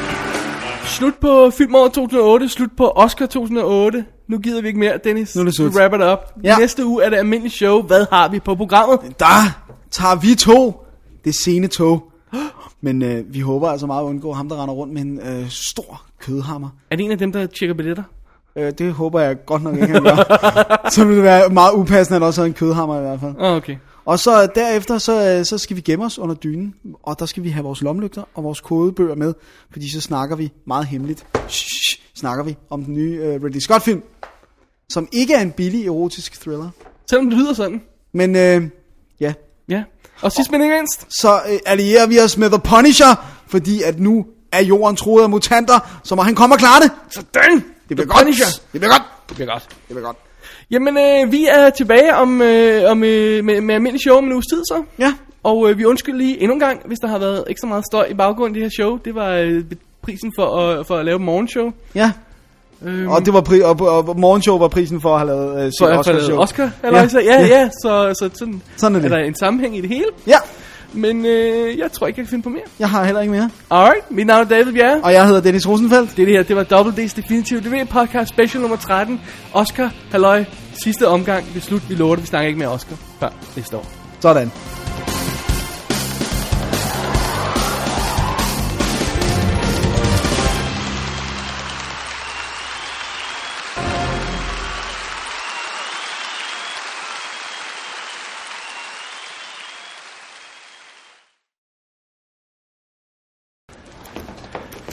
Speaker 1: Slut på filmåret 2008, slut på Oscar 2008. Nu gider vi ikke mere, Dennis.
Speaker 2: Nu er det slut.
Speaker 1: Vi wrapper det op.
Speaker 2: Ja.
Speaker 1: Ja. Næste uge er det almindeligt show. Hvad har vi på programmet?
Speaker 2: Der tager vi to det sene tog. Men øh, vi håber altså meget at undgå ham, der render rundt med en øh, stor kødhammer.
Speaker 1: Er det en af dem, der tjekker billetter?
Speaker 2: Øh, det håber jeg godt nok ikke, han gør. så ville det være meget upassende, at han også havde en kødhammer i hvert fald.
Speaker 1: Åh, oh, okay.
Speaker 2: Og så øh, derefter, så, øh, så skal vi gemme os under dynen, og der skal vi have vores lommelygter og vores kodebøger med, fordi så snakker vi meget hemmeligt, shh, snakker vi om den nye øh, Ridley Scott-film, som ikke er en billig erotisk thriller.
Speaker 1: Selvom det lyder sådan.
Speaker 2: Men øh, ja,
Speaker 1: Ja. Og sidst men ikke mindst.
Speaker 2: så øh, allierer vi os med The Punisher, fordi at nu er jorden troet af mutanter, så må han komme og klare det.
Speaker 1: Sådan!
Speaker 2: Det bliver godt.
Speaker 1: Punisher.
Speaker 2: Det bliver godt.
Speaker 1: Det bliver godt.
Speaker 2: Det bliver godt.
Speaker 1: Jamen, øh, vi er tilbage om, øh, om, øh, med, med almindelig show om en uges tid så.
Speaker 2: Ja,
Speaker 1: Og øh, vi undskylder lige endnu en gang, hvis der har været ikke så meget støj i baggrunden i det her show. Det var øh, prisen for at, for at lave morgenshow.
Speaker 2: ja.
Speaker 1: Øhm,
Speaker 2: Og, det var pri- og, og morgenshow var prisen for at have lavet øh, sit
Speaker 1: så jeg faldet
Speaker 2: Oscar-show.
Speaker 1: Oscar, eller ja. ja, ja, så, så sådan,
Speaker 2: Sådan er det.
Speaker 1: er der en sammenhæng i det hele.
Speaker 2: Ja,
Speaker 1: Men øh, jeg tror ikke, jeg kan finde på mere.
Speaker 2: jeg har heller ikke mere.
Speaker 1: Alright, mit navn er David Bjerre.
Speaker 2: Og jeg hedder Dennis Rosenfeldt.
Speaker 1: Det, det her, det var Double D's Definitive DV Podcast Special nummer 13. Oscar, halløj, sidste omgang. Det er slut, vi lover det. Vi snakker ikke med Oscar før næste år.
Speaker 2: Sådan.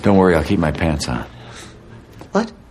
Speaker 4: Don't worry, I'll keep my pants on.
Speaker 7: What?